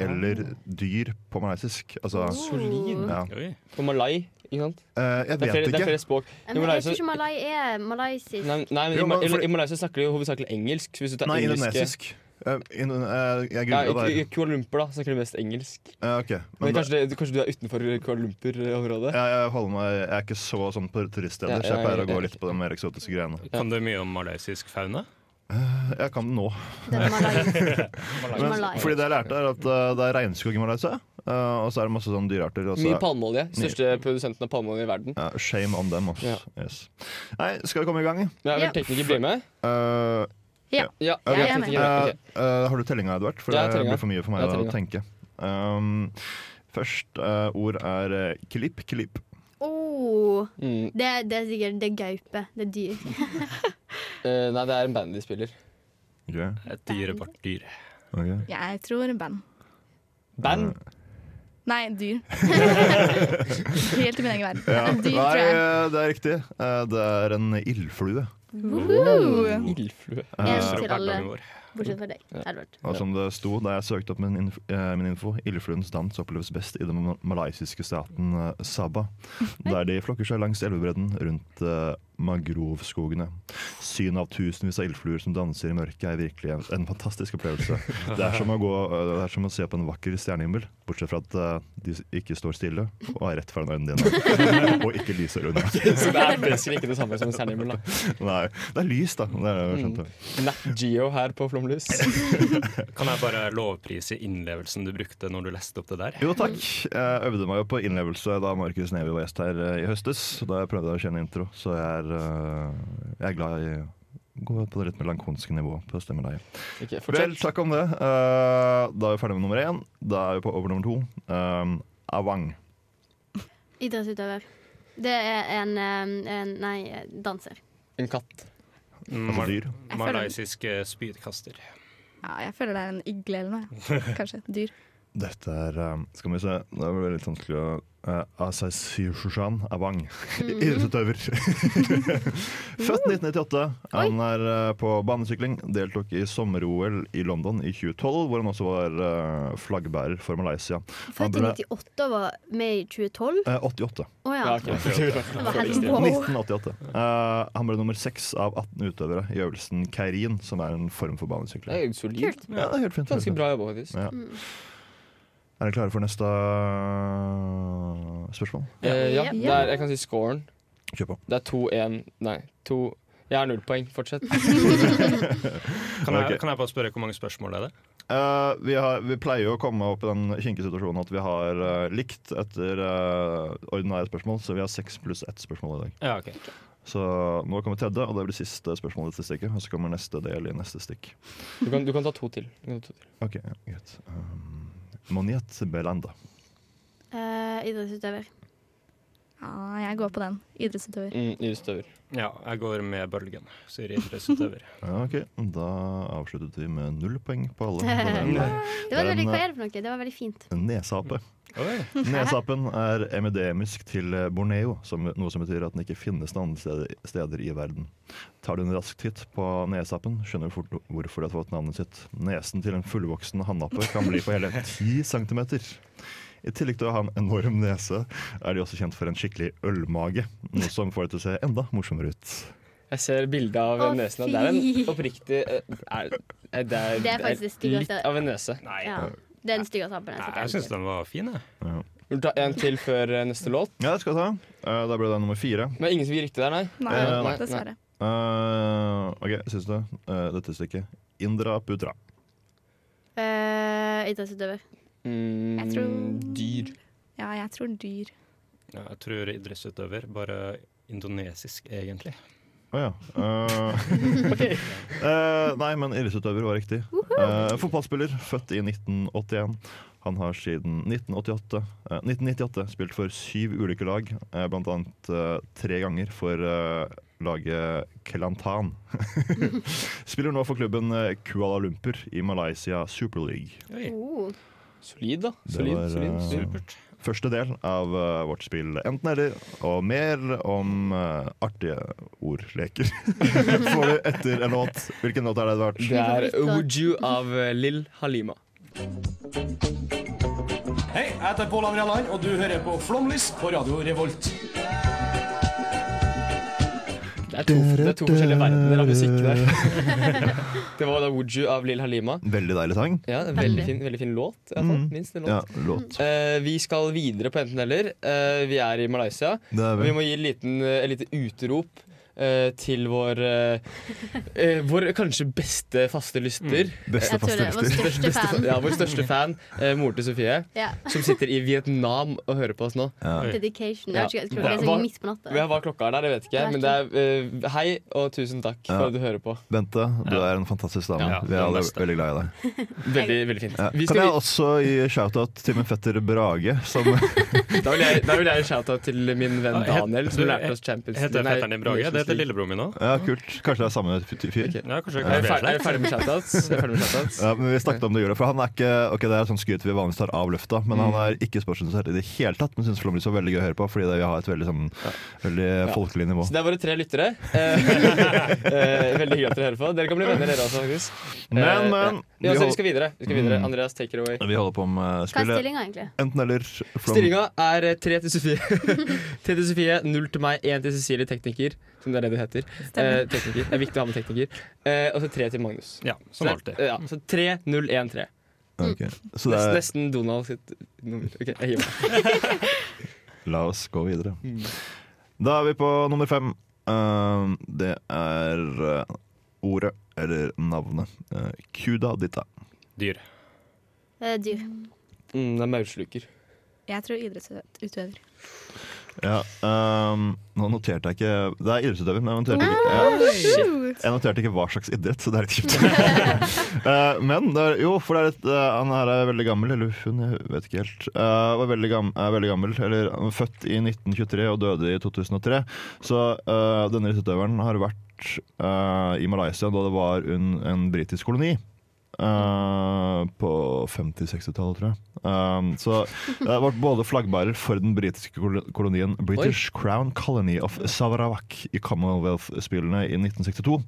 Speaker 2: Eller dyr på malaysisk. Altså,
Speaker 3: Ah. Oh.
Speaker 1: Oh.
Speaker 3: Solid.
Speaker 2: ja.
Speaker 6: Oi.
Speaker 3: På malai, ikke sant?
Speaker 2: Eh, jeg
Speaker 3: Det er
Speaker 2: vet
Speaker 3: flere, det er
Speaker 2: ikke.
Speaker 3: flere språk. I
Speaker 1: Men jeg
Speaker 3: Malaysia,
Speaker 1: tror ikke malai er malaysisk.
Speaker 3: nei, nei, men
Speaker 2: Jo,
Speaker 3: i,
Speaker 2: men
Speaker 3: Ma-
Speaker 2: fordi-
Speaker 3: I Malaysia snakker de jo hovedsakelig engelsk. Så hvis du tar
Speaker 2: Nei,
Speaker 3: engelske-
Speaker 2: indonesisk. Eh, indo- eh, jeg
Speaker 3: Ja,
Speaker 2: googla
Speaker 3: i-
Speaker 2: der.
Speaker 3: I Kuala Lumpur da, snakker de mest engelsk.
Speaker 2: Eh, ok,
Speaker 3: Men
Speaker 2: men det-
Speaker 3: kanskje, det, kanskje du er utenfor Kuala Lumpur-området?
Speaker 2: jeg, jeg, holder meg, jeg er ikke så sånn på turiststeder,
Speaker 3: Ja,
Speaker 2: så jeg
Speaker 3: ja,
Speaker 2: pleier å
Speaker 3: ja,
Speaker 2: gå
Speaker 3: ja.
Speaker 2: litt på de mer eksotiske greiene.
Speaker 6: Kan du mye om malaysisk fauna?
Speaker 2: Jeg kan det nå.
Speaker 1: Det
Speaker 3: [LAUGHS]
Speaker 1: er malai.
Speaker 2: Men,
Speaker 1: Malaya.
Speaker 2: fordi det jeg lærte, er at eh, det er regnskog i Malaysia, eh, og så er det masse sånn dyrearter. og så-
Speaker 3: Mye palmeolje. Største produsenten av palmeolje i verden.
Speaker 2: Ja, shame on them, ass.
Speaker 3: Ja.
Speaker 2: Yes. Nei, skal vi komme i gang?
Speaker 3: Men jeg
Speaker 1: Ja.
Speaker 3: vil tekniker bli med?
Speaker 2: Eh,
Speaker 3: Ja,
Speaker 1: Jeg
Speaker 3: ok,
Speaker 1: er med.
Speaker 3: tekniker, ok.
Speaker 2: Eh, eh, har du tellinga, Edvard? For
Speaker 3: Ja,
Speaker 2: det
Speaker 3: tellinga.
Speaker 2: blir for mye for meg
Speaker 3: Ja,
Speaker 2: å
Speaker 3: tellinga.
Speaker 2: tenke. Um, først eh, ord er eh, klipp, klipp.
Speaker 1: Oh,
Speaker 3: Mm,
Speaker 1: det, er- det er sikkert det er gaupe. Det er dyr.
Speaker 3: eh, nei, det er en bandyspiller.
Speaker 2: Okay.
Speaker 6: Et dyr er bare et dyr.
Speaker 2: ok.
Speaker 9: Jeg tror band.
Speaker 3: Band?
Speaker 9: Nei,
Speaker 3: [LAUGHS]
Speaker 9: dyr. Helt i min egen verden.
Speaker 2: Ja.
Speaker 9: Dyr,
Speaker 2: Nei,
Speaker 9: tror jeg.
Speaker 2: eh, det er riktig. Eh, det er en ildflue.
Speaker 9: Woohoo!
Speaker 3: Ildflue. [LAUGHS]
Speaker 1: En
Speaker 6: Fra
Speaker 1: til alle,
Speaker 6: hverdagen vår.
Speaker 1: bortsett fra deg, Edvard.
Speaker 2: Og som det sto da jeg søkte opp min, inf eh, min info, ildfluens dans oppleves best i den ma- malaysiske staten eh, Sabah, der de flokker seg langs elvebredden rundt eh, magrovskogene. Synet av tusenvis av ildfluer som danser i mørket er virkelig en, en fantastisk opplevelse. Det er, som å gå, eh, det er som å se på en vakker stjernehimmel, bortsett fra at eh, de s- ikke står stille og er rett foran øynene dine, [LAUGHS] og ikke lyser unna.
Speaker 3: Så det er basically ikke det samme som en stjernehimmel. da.
Speaker 2: Nei, det er lys, da. Det er det jeg skjønte.
Speaker 3: Nat Geo her på Flomlys.
Speaker 6: Kan jeg bare lovprise innlevelsen du brukte når du leste opp det der?
Speaker 2: Jo takk. Jeg øvde meg jo på innlevelse da Markus Neby var gjest her eh, i høstes. Da jeg prøvde jeg å kjenne intro, så jeg er, eh, jeg er glad i å gå på det litt melankolske nivået på stemmeleie.
Speaker 3: Ok,
Speaker 2: Vel,
Speaker 3: fortsett.
Speaker 2: takk om det. Eh, Da er vi ferdig med nummer én. Da er vi på over nummer to. Um, Avang.
Speaker 1: Idrettsutøver. Det er en, eh, en Nei, danser.
Speaker 3: En katt.
Speaker 6: Mm,
Speaker 2: Altså
Speaker 6: mal-
Speaker 2: dyr.
Speaker 6: Malaysisk eh, spydkaster.
Speaker 5: [LAUGHS] Ja, jeg føler det er en igle eller noe. Kanskje. Et dyr.
Speaker 2: Dette er eh, Skal vi se, det er vel litt vanskelig å uh, Asai Sjushan Abang. [LAUGHS] Idrettsutøver. Født 1998. Han er eh, på banesykling. Deltok i sommer-OL i London i 2012, hvor han også var eh, flaggbærer for Malaysia. Han
Speaker 1: Født i
Speaker 2: ble-
Speaker 1: 98 og var med i 2012.
Speaker 2: eh, 88.
Speaker 1: Å ja.
Speaker 3: [LAUGHS]
Speaker 1: Ja, ok.
Speaker 2: 88.
Speaker 1: Det var helt wow.
Speaker 2: 1988. Eh, han ble nummer seks av 18 utøvere i øvelsen Keirin, som er en form for banesykling.
Speaker 3: Det er solid.
Speaker 2: Kult. Ja, det er helt fint.
Speaker 3: Ganske bra jobba, faktisk.
Speaker 2: Ja. Er dere klare for neste spørsmål?
Speaker 3: Eh, ja, det er, jeg kan si scoren.
Speaker 2: Kjør på.
Speaker 3: Det er 2-1 Nei, 2 Jeg har null poeng. Fortsett.
Speaker 6: Kan jeg,
Speaker 2: Ok.
Speaker 6: kan jeg bare spørre hvor mange spørsmål det er? det?
Speaker 2: Eh, vi, har, vi pleier jo å komme opp i den kinkige situasjonen at vi har eh, likt etter eh, ordinære spørsmål, så vi har seks pluss ett spørsmål i dag.
Speaker 6: Ja, ok.
Speaker 2: Så nå kommer tredje, og det blir siste spørsmål i dette stikket. Og så kommer neste del i neste stikk.
Speaker 3: Du kan, du kan ta to til. Du kan ta to til.
Speaker 2: Ok, ja, greit. Um, Moniet Belanda.
Speaker 5: Eh, idrettsutøver. Ja, jeg går på den. Idrettsutøver.
Speaker 3: Idrettsutøver.
Speaker 6: Ja, jeg går med bølgen, sier idrettsutøver.
Speaker 2: Ja, ok, da avsluttet vi med null poeng på alle.
Speaker 1: Det var veldig, hva
Speaker 2: eh,
Speaker 1: er det for noe? Det var veldig fint.
Speaker 2: Nesape. Nesapen er emidemisk til eh, Borneo, som, noe som betyr at den ikke finnes noen andre steder, steder i verden. Tar du en rask titt på nesapen, skjønner du fort hvorfor det har fått navnet sitt. Nesen til en fullvoksen hannape kan bli på hele 10 centimeter. I tillegg til å ha en enorm nese, er de også kjent for en skikkelig ølmage, noe som får det til å se enda morsommere ut.
Speaker 3: Jeg ser bilde av
Speaker 1: Å,
Speaker 3: nesen. og Det er en
Speaker 1: fy.
Speaker 3: oppriktig eh, er, er, det, er,
Speaker 1: Det er faktisk det styggeste.
Speaker 3: litt av en nese.
Speaker 1: Ja. Det er den styggeste tabben jeg har sett.
Speaker 2: den var fin, jeg.
Speaker 3: Vil du ta en til før eh, neste låt?
Speaker 2: Ja, det skal jeg ta. Eh, Da ble det nummer fire.
Speaker 3: Men ingen som gir riktig der, nei?
Speaker 2: Nei,
Speaker 3: Eh,
Speaker 5: dessverre.
Speaker 2: Eh, ok, siste. Eh, dette stykket. Indra Putra.
Speaker 5: Eh, idrettsutøver. Jeg tror-
Speaker 3: Mm, Dyr.
Speaker 5: Ja, jeg tror dyr.
Speaker 6: Ja, jeg tror idrettsutøver, bare indonesisk, egentlig.
Speaker 2: Å ja. Eh, eh, nei, men idrettsutøver var riktig. Eh, fotballspiller, født i 1981. Han har siden 1988, eh, 1998 spilt for syv ulike lag, eh, blant annet eh, tre ganger for eh, laget Kelantan. [LAUGHS] Spiller nå for klubben eh, Kuala Lumpur i Malaysia Super League.
Speaker 1: Oh.
Speaker 3: Solid, da.
Speaker 2: Det
Speaker 3: Solid,
Speaker 2: var,
Speaker 3: solid,
Speaker 2: eh,
Speaker 3: solid.
Speaker 2: Første del av eh, vårt spill Enten eller, og mer om eh, artige ordleker. [LAUGHS] Får du etter en låt. Hvilken låt er det, Edvard?
Speaker 3: Det er Would You av eh, Lill Halima.
Speaker 11: Hei, jeg heter Pål André Land, og du hører på Flomlys på Radio Revolt.
Speaker 3: Det er to, det er to forskjellige verdener av musikk der. Det var da Would You av Lill Halima.
Speaker 2: Veldig deilig sang.
Speaker 3: Ja, det er veldig fin, veldig fin låt. i hvert fall.
Speaker 2: Mm.
Speaker 3: Minst en låt.
Speaker 2: Ja, låt.
Speaker 3: Eh, vi skal videre på enten eller. Eh, vi er i Malaysia.
Speaker 2: Det er vi.
Speaker 3: Vi må gi en liten, eh, et lite utrop eh, til vår eh, eh, Vår kanskje beste faste lyster.
Speaker 2: Mm. Beste Jeg tror faste det. Vår lyster. største
Speaker 3: Beste fa-
Speaker 2: fan.
Speaker 3: Ja, vår største fan. eh, moren til Sofie.
Speaker 1: Ja.
Speaker 3: Som sitter i Vietnam og hører på oss nå.
Speaker 1: Dedication. Jeg vet ikke, jeg tror det er
Speaker 3: Hva-
Speaker 1: sånn midt på natta.
Speaker 3: ja, hva klokka er der, det vet ikke jeg. Men det er eh, hei og tusen takk
Speaker 2: Ja.
Speaker 3: for at du hører på.
Speaker 2: Bente, du er en fantastisk dame.
Speaker 3: Ja,
Speaker 2: Vi er
Speaker 3: den
Speaker 2: alle
Speaker 3: beste.
Speaker 2: veldig glad i deg.
Speaker 3: Veldig, veldig fint.
Speaker 2: Ja.
Speaker 3: Vi
Speaker 2: Kan
Speaker 3: skal
Speaker 2: jeg også gi shout-out til min fetter Brage,
Speaker 3: [LAUGHS]
Speaker 2: som
Speaker 3: vi- da vil jeg, da vil jeg shout out til min venn Daniel, som lærte oss Champions
Speaker 6: Heter
Speaker 3: Nei,
Speaker 6: fetteren din Brage? Det heter
Speaker 3: Nations League.
Speaker 6: lillebroren min òg.
Speaker 2: Ja, kult. Kanskje det er samme fyr?
Speaker 6: Ja, kanskje
Speaker 3: Er vi ferdig- er vi ferdig med shoutouts? Er vi ferdig med shoutouts?
Speaker 2: Ja, men vi snakket om det i jula, for han er ikke Ok, det er sånn skryt vi vanligvis tar av lufta, men han
Speaker 3: Mm.
Speaker 2: er ikke sportsinteressert i det hele tatt. Men syns Flåmlys var veldig gøy å høre på, fordi det, vi har et veldig, sånn, veldig
Speaker 3: Ja.
Speaker 2: folkelig nivå.
Speaker 3: Så det er våre tre lyttere. Eh, [LAUGHS] eh, veldig hyggelig at dere hører på. Dere kan bli venner, dere også, faktisk. Eh,
Speaker 2: Men, men,
Speaker 3: ja. Ja,
Speaker 2: vi
Speaker 3: så vi
Speaker 2: hold-
Speaker 3: skal videre. Vi skal videre.
Speaker 2: Mm.
Speaker 3: Andreas, take it away.
Speaker 2: Vi holder på med
Speaker 3: Hva er
Speaker 2: spillet.
Speaker 3: stillingen egentlig?
Speaker 2: Enten eller. Flom-
Speaker 3: Stillinga er eh, tre til Sofie. [LAUGHS] tre til Sofie, null til meg, én til Cecilie, tekniker. Som det er det du heter. Eh,
Speaker 6: Stemmer.
Speaker 3: tekniker. Det er viktig å ha med tekniker. Eh, og så tre til Magnus.
Speaker 6: Ja, som
Speaker 3: så,
Speaker 6: alltid.
Speaker 3: eh, Ja, så tre, null, én, tre.
Speaker 2: Ok, Så det
Speaker 3: Nest,
Speaker 2: er,
Speaker 3: nesten Donald sitt nummer. Ok, jeg gir meg.
Speaker 2: la oss gå videre.
Speaker 3: Mm.
Speaker 2: Da er vi på nummer fem. Ehm, det er eh, ordet, eller navnet, uh, kudadita.
Speaker 6: Dyr.
Speaker 5: Eh, dyr.
Speaker 3: Mm, det er maursluker.
Speaker 5: Jeg tror idrettsutøver.
Speaker 2: Ja, ehm, nå noterte jeg ikke Det er idrettsutøver, men jeg noterte ikke
Speaker 5: Wow,
Speaker 2: ja.
Speaker 5: shit.
Speaker 2: Jeg noterte ikke hva slags idrett, så det er litt kjipt. [LAUGHS] Eh, men det er, jo, for det er litt, eh, han her er veldig gammel, eller hun, jeg vet ikke helt. Eh, var veldig gam, er veldig gammel, eller han var født i 1923 og døde i 2003. Så eh, denne idrettsutøveren har vært eh, i Malaysia da det var en, en britisk koloni. Eh, eh, på 50-60-tallet, tror jeg. Um, så jeg ble både flaggbærer for den britiske kol- kolonien British Crown Colony of Savarawak i Commonwealth-spillene i 1962.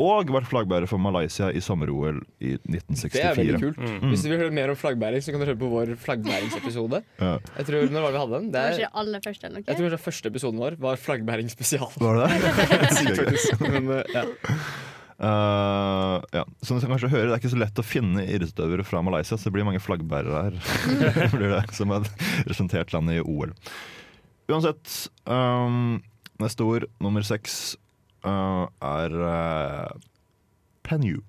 Speaker 2: Og vært flaggbærer for Malaysia i sommer-OL i 1964.
Speaker 3: Det er veldig kult.
Speaker 2: Mm.
Speaker 3: Hvis du vil høre mer om flaggbæring, så kan du høre på vår flaggbæringsepisode.
Speaker 2: [LAUGHS] Ja.
Speaker 3: Jeg tror, Når var det vi hadde den? Det er,
Speaker 5: Kanskje det aller første eller
Speaker 3: jeg
Speaker 5: noe?
Speaker 3: tror kanskje første episoden vår var flaggbæring spesial. [LAUGHS]
Speaker 2: Var det det?
Speaker 3: Sykt faktisk, Men, eh, ja.
Speaker 2: [LAUGHS] Eh, ja. Som du kanskje hører, det er ikke så lett å finne idrettsutøvere fra Malaysia, så det blir mange flaggbærere her.
Speaker 3: [LAUGHS]
Speaker 2: [LAUGHS] Det blir det, som har representert landet i OL. Uansett, ehm, neste ord, nummer seks, eh, er uh, Penyu.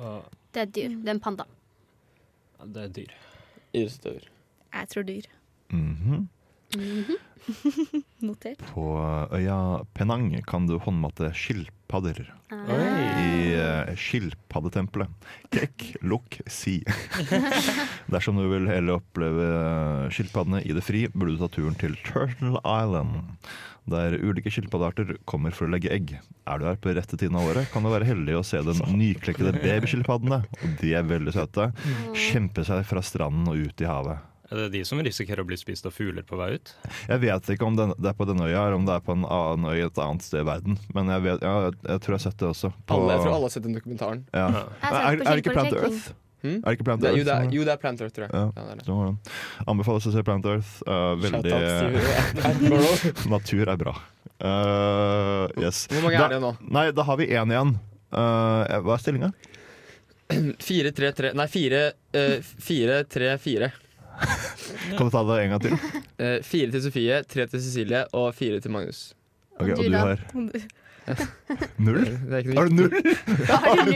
Speaker 1: Det er et dyr. Det er en panda.
Speaker 6: Det er dyr.
Speaker 3: Idrettsutøver.
Speaker 5: Jeg tror dyr.
Speaker 2: Mhm.
Speaker 5: Notert.
Speaker 2: På øya Penang kan du håndmatte skilpadder. I eh, skilpaddetempelet. Kek, lukk, si. Dersom du vil heller oppleve eh, skilpaddene i det fri, burde du ta turen til Turtle Island. Der ulike skilpaddearter kommer for å legge egg. Er du her på rette tiden av året, kan du være heldig å se de nyklekkede babyskilpaddene. Og de er veldig søte. Kjempe seg fra stranden og ut i havet.
Speaker 6: Er det de som risikerer å bli spist av fugler på vei ut?
Speaker 2: Jeg vet ikke om den, det er på denne øya, eller om det er på en annen øy et annet sted i verden. Men jeg, vet, ja, jeg, jeg tror jeg har sett det også. På,
Speaker 3: Alle, jeg tror alle har sett den dokumentaren.
Speaker 2: Ja. Jeg har sett Er- på er det ikke Plant Skilpaddetekken. Earth?
Speaker 3: Hmm?
Speaker 2: Er det ikke Plant
Speaker 3: Det- Jo,
Speaker 2: Earth
Speaker 3: det
Speaker 2: som
Speaker 3: er,
Speaker 2: er-
Speaker 3: jo, det er Plant Earth, tror jeg.
Speaker 2: Ja,
Speaker 3: Ja, det er det.
Speaker 2: det var den. Anbefales å se Plant Earth. Eh,
Speaker 3: Shout
Speaker 2: veldig
Speaker 3: [LAUGHS] out til Attenborough.
Speaker 2: [LAUGHS] Natur er bra. Eh, yes.
Speaker 3: Hvor mange er
Speaker 2: da,
Speaker 3: det nå?
Speaker 2: Nei, da har vi én igjen. Eh, hva er stillinga?
Speaker 3: 4-3-3 Nei, eh, 4-3-4.
Speaker 2: Kan du ta det en [LAUGHS] gang til?
Speaker 3: Eh, Fire til Sofie, tre til Cecilie og fire til Magnus.
Speaker 2: Ok, og du [LAUGHS] har null?
Speaker 3: Det er ikke
Speaker 2: [LAUGHS] Har du null?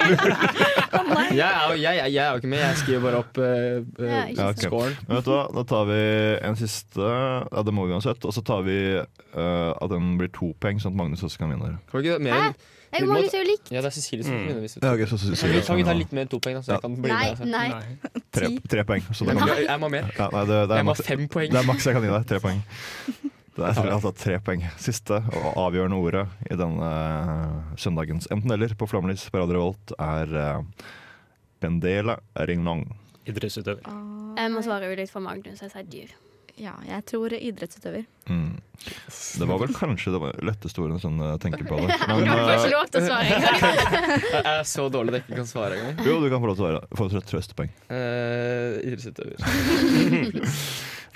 Speaker 2: [LAUGHS]
Speaker 3: Jeg er, jo- jeg, er- jeg er jo ikke med, jeg skriver bare opp eh, eh,
Speaker 2: Ja, ok.
Speaker 3: scoren.
Speaker 2: Men Vet du hva, Da tar vi en siste. Ja, Det må vi uansett. Og så tar vi eh, at den blir to poeng, sånn at Magnus også kan vinne.
Speaker 3: Kan vi ikke mer enn
Speaker 1: Det er jo mange som er likt.
Speaker 3: Ja, det er Cecilie som
Speaker 2: Mm.
Speaker 3: vinner. Hvis vi
Speaker 2: Ja, ok, så Cecilie
Speaker 3: Kan vi- kan vi ta
Speaker 2: vinner.
Speaker 3: litt mer enn to poeng, da, så jeg kan bli
Speaker 1: Nei,
Speaker 3: med? Altså.
Speaker 1: nei.
Speaker 2: Tre, tre poeng. Så
Speaker 3: [LAUGHS]
Speaker 2: det er
Speaker 3: Jeg må-
Speaker 2: maks-
Speaker 3: jeg må mer.
Speaker 2: Ja, nei, det, det er
Speaker 3: Jeg må
Speaker 2: maks-
Speaker 3: ha fem poeng.
Speaker 2: Det er maks jeg kan gi deg. Tre
Speaker 3: [LAUGHS]
Speaker 2: poeng. Det er altså tre poeng. Siste og avgjørende ordet i denne søndagens enten-eller på Flammelys på Radio Revolt er eh, Bendela Ringnong.
Speaker 6: Idrettsutøver.
Speaker 1: Jeg må svare ulikt for Magnus. Jeg sier dyr.
Speaker 5: Ja, jeg tror idrettsutøver.
Speaker 2: Mm. Det var vel kanskje det letteste ordet sånn jeg tenker på
Speaker 3: [LAUGHS]
Speaker 2: det.
Speaker 5: Du får ikke
Speaker 2: eh,
Speaker 5: lov til å svare engang.
Speaker 3: Jeg er så dårlig at jeg ikke kan svare engang.
Speaker 2: eh, jo, du kan få lov til å være- få et trøstepoeng.
Speaker 3: Uh, Idrettsutøver.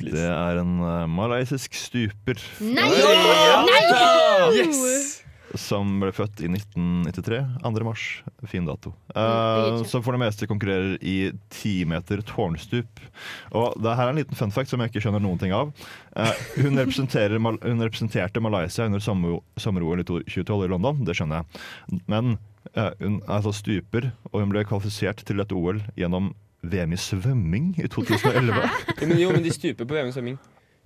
Speaker 2: Det er en eh, malaysisk stuper.
Speaker 1: Nei!
Speaker 3: Ja!
Speaker 1: Nei!
Speaker 3: Yes!
Speaker 2: Som ble født i 1993. 2. mars. Fin dato.
Speaker 3: Mm,
Speaker 2: Eh, som for det meste konkurrerer i 10 meter tårnstup. Og det her er en liten fun fact som jeg ikke skjønner noen ting av. Eh, hun, representerer Mal hun representerte Malaysia under sommer- sommer-OL i to- 2012 i London, det skjønner jeg. Men eh, hun er altså stuper, og hun ble kvalifisert til et OL gjennom VM i svømming i 2011.
Speaker 3: [LAUGHS] Jo, men, jo, men de stuper på VM i svømming.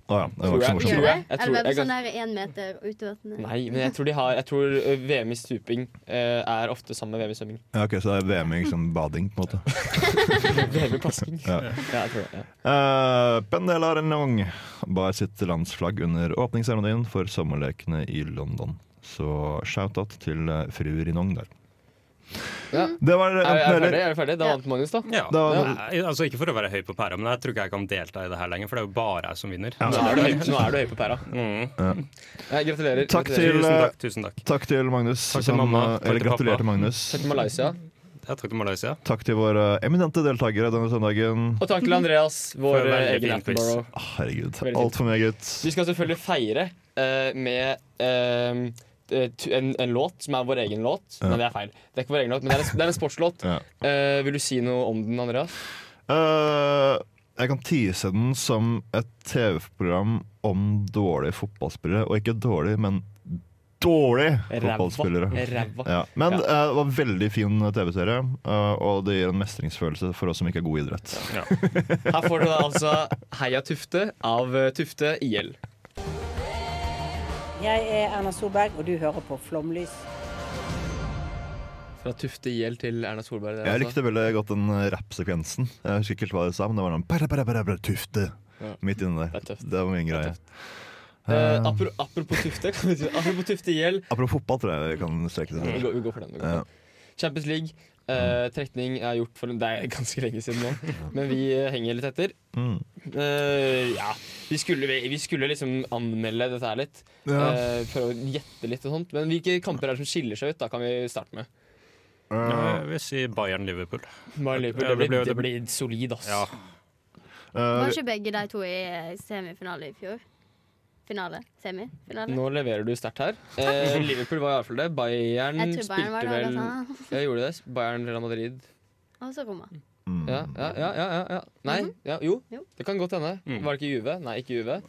Speaker 2: Å ja, det var ikke så morsomt.
Speaker 3: Tror jeg. Jeg tror-
Speaker 1: Eller hvem
Speaker 3: jeg kan-
Speaker 1: som er én meter utover den
Speaker 3: Nei, men jeg tror, de har, jeg tror ø, VM i stuping eh, er ofte sammen med VM i svømming. [LAUGHS]
Speaker 2: Ja, ok, Så det er VM i liksom bading, på en måte.
Speaker 3: VM i plasking.
Speaker 2: Ja.
Speaker 3: Ja, jeg tror det, ja.
Speaker 2: Uh, Pendela Renong bar sitt landsflagg under åpningsseremonien for sommerlekene i London. Så shout-out til eh, fru Rinong der. Det var
Speaker 3: Er, er,
Speaker 2: enten
Speaker 3: vi
Speaker 2: eller.
Speaker 3: ferdig? er vi ferdig? Da vant Magnus, da.
Speaker 6: Ja.
Speaker 2: Da-
Speaker 6: Nei, altså Ikke for å være høy på pæra, men jeg tror ikke jeg kan delta i det her lenger. For det er jo bare jeg som vinner. Mm.
Speaker 2: Ja.
Speaker 3: Nå er du høy, nå er du høy på pæra.
Speaker 2: Ja.
Speaker 3: Nei, gratulerer.
Speaker 2: Takk
Speaker 3: gratulerer.
Speaker 2: til, eh,
Speaker 6: Tusen takk.
Speaker 2: takk til Magnus. eh,
Speaker 6: Takk til mamma.
Speaker 2: Eller
Speaker 6: Takk til
Speaker 2: gratulerer
Speaker 6: pappa.
Speaker 2: til Magnus.
Speaker 3: Takk til Malaysia.
Speaker 6: Ja, takk til Malaysia.
Speaker 2: Takk til våre eminente deltakere denne søndagen.
Speaker 3: Og takk til Andreas,
Speaker 6: For
Speaker 3: vår
Speaker 6: en
Speaker 3: eh,
Speaker 6: veldig
Speaker 3: egen
Speaker 6: fin quiz.
Speaker 3: Attenborough.
Speaker 2: Herregud.
Speaker 3: Veldig fint.
Speaker 2: Altfor mye, gutt.
Speaker 3: Vi skal selvfølgelig feire eh, med eh, tu- en, en låt som er vår egen låt.
Speaker 2: Ja.
Speaker 3: Nei, det er feil. Det er ikke vår egen låt, men det er en, det er en sportslåt.
Speaker 2: Ja.
Speaker 3: Eh, vil du si noe om den, Andreas?
Speaker 2: Eh, jeg kan tease den som et TV-program om dårlige fotballspillere. Og ikke dårlig, men dårlige
Speaker 3: Ræva.
Speaker 2: fotballspillere.
Speaker 3: Ræva.
Speaker 2: Ja. Men
Speaker 3: Ja.
Speaker 2: eh, det var en veldig fin TV-serie, eh, og det gir en mestringsfølelse for oss som ikke er gode i idrett.
Speaker 3: Her får du da altså Heia Tufte av eh, Tufte IL.
Speaker 12: Jeg er Erna Solberg, og du hører på Flomlys.
Speaker 3: Fra Tufte IL til Erna Solberg. det er
Speaker 2: Jeg
Speaker 3: altså.
Speaker 2: likte veldig godt den eh, rappsekvensen. Jeg husker ikke helt hva de sa, men det var noen para, para, para, para, tufte
Speaker 3: Ja.
Speaker 2: midt inni der.
Speaker 3: Det er tøft.
Speaker 2: Det var min greie.
Speaker 3: Eh,
Speaker 2: Eh,
Speaker 3: apro apropos Tufte kan vi si, Apropos Tufte IL.
Speaker 2: apropos fotball, tror jeg vi kan streke det
Speaker 3: Mm. Vi går, vi går for den. Vi går for den. Champions League. Eh, trekning er gjort for Det er ganske lenge siden nå, men vi eh, henger litt etter.
Speaker 2: Mm.
Speaker 3: Eh, ja. Vi skulle, vi, vi skulle liksom anmelde dette her litt.
Speaker 2: Ja.
Speaker 3: Eh, prøve å gjette litt og sånt. Men hvilke kamper er det som skiller seg ut? Da kan vi starte med.
Speaker 6: Jeg vil si Bayern-Liverpool.
Speaker 3: Bayern-Liverpool, det blir- det blir solid, ass.
Speaker 6: Ja.
Speaker 2: Eh,
Speaker 1: Var ikke begge de to i semifinale i fjor? Finale? Semi? Finale?
Speaker 3: Nå leverer du sterkt her. Eh, Liverpool var iallfall det. Bayern,
Speaker 1: Jeg tror
Speaker 3: Mm,
Speaker 1: Bayern
Speaker 3: spilte
Speaker 1: var det,
Speaker 3: vel
Speaker 1: altså.
Speaker 3: Ja, gjorde det. Bayern Real Madrid.
Speaker 1: Og så Roma.
Speaker 2: mm.
Speaker 3: Ja, ja, ja, ja, ja, ja. Nei,
Speaker 1: Mhm.
Speaker 3: ja, jo. Det kan godt hende. Var det ikke Juve? Nei, ikke Juve.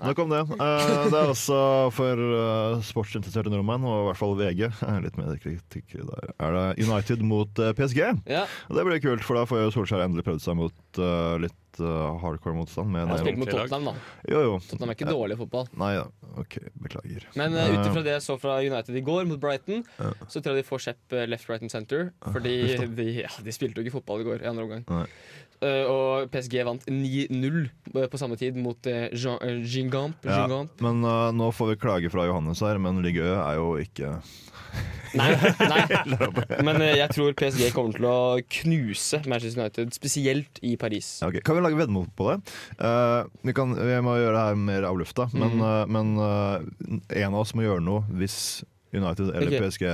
Speaker 2: Nok om det. Eh, det er også for eh, sportsinteresserte nordmenn, og i hvert fall VG, eh, [LAUGHS] litt mer kritikk der, er det United mot eh, PSG.
Speaker 3: Ja.
Speaker 2: Og Det blir kult, for da får jo Solskjær endelig prøvd seg mot eh, litt eh, hardcore motstand. med
Speaker 3: Han
Speaker 2: det-
Speaker 3: spilte mot Tottenham, da.
Speaker 2: Jo, jo.
Speaker 3: Tottenham er ikke
Speaker 2: Eh,
Speaker 3: dårlig i fotball.
Speaker 2: Nei da. OK, beklager.
Speaker 3: Men uh, ut
Speaker 2: Eh,
Speaker 3: ifra det jeg så fra United i går mot Brighton, så tror jeg de får Sepp eh, left, right and center. Fordi
Speaker 2: huff Ah, da.
Speaker 3: de, ja, de spilte jo ikke fotball i går i andre omgang.
Speaker 2: Nei.
Speaker 3: Eh, og PSG vant 9-0 på samme tid mot eh, Jean, eh, Gingamp.
Speaker 2: ja,
Speaker 3: Gingamp.
Speaker 2: men eh, nå får vi klage fra Johannes her, men Ligue Ø er jo ikke
Speaker 3: Nei,
Speaker 2: [LAUGHS]
Speaker 3: nei. Men eh, jeg tror PSG kommer til å knuse Manchester United, spesielt i Paris.
Speaker 2: Ja, ok. Kan vi lage veddemål på det? Eh, vi, kan, vi må gjøre det her mer av lufta, men,
Speaker 3: Mm.
Speaker 2: eh, men eh, en av oss må gjøre noe hvis United eller
Speaker 3: Ok.
Speaker 2: PSG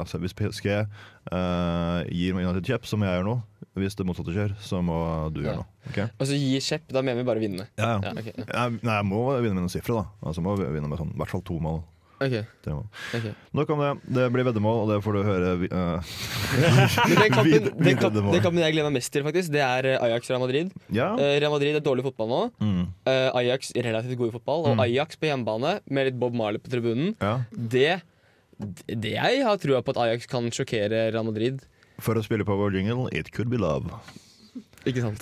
Speaker 2: altså Hvis PSG eh, gir United kjepp, så må jeg gjøre noe. Hvis det motsatte skjer, så må du
Speaker 3: Ja.
Speaker 2: gjøre noe. ok?
Speaker 3: Og så gi Shep, da mener vi bare vinne.
Speaker 2: Ja, ja.
Speaker 3: Ja, ok, ja.
Speaker 2: Jeg, nei, jeg må vinne med noen sifre, da. Altså, jeg må vinne med sånn, i hvert fall to mål.
Speaker 3: Ok.
Speaker 2: Tre mål.
Speaker 3: Ok.
Speaker 2: Nok om det. Det blir veddemål, og det får du høre vi- eh,
Speaker 3: Men den
Speaker 2: [LAUGHS]
Speaker 3: kampen,
Speaker 2: vid-
Speaker 3: den, kamp,
Speaker 2: veddemål.
Speaker 3: den kampen jeg gleder meg mest til, faktisk, det er eh, Ajax Real Madrid.
Speaker 2: Ja.
Speaker 3: Eh, Real Madrid er dårlig i fotball nå.
Speaker 2: Mm.
Speaker 3: Eh, Ajax relativt gode i fotball. Og
Speaker 2: Mm.
Speaker 3: Ajax på hjemmebane med litt Bob Marley på tribunen.
Speaker 2: Ja.
Speaker 3: Det, det jeg har trua på at Ajax kan sjokkere Real Madrid.
Speaker 2: For å spille på vår jingle, it could be love.
Speaker 3: Ikke [LAUGHS] sant?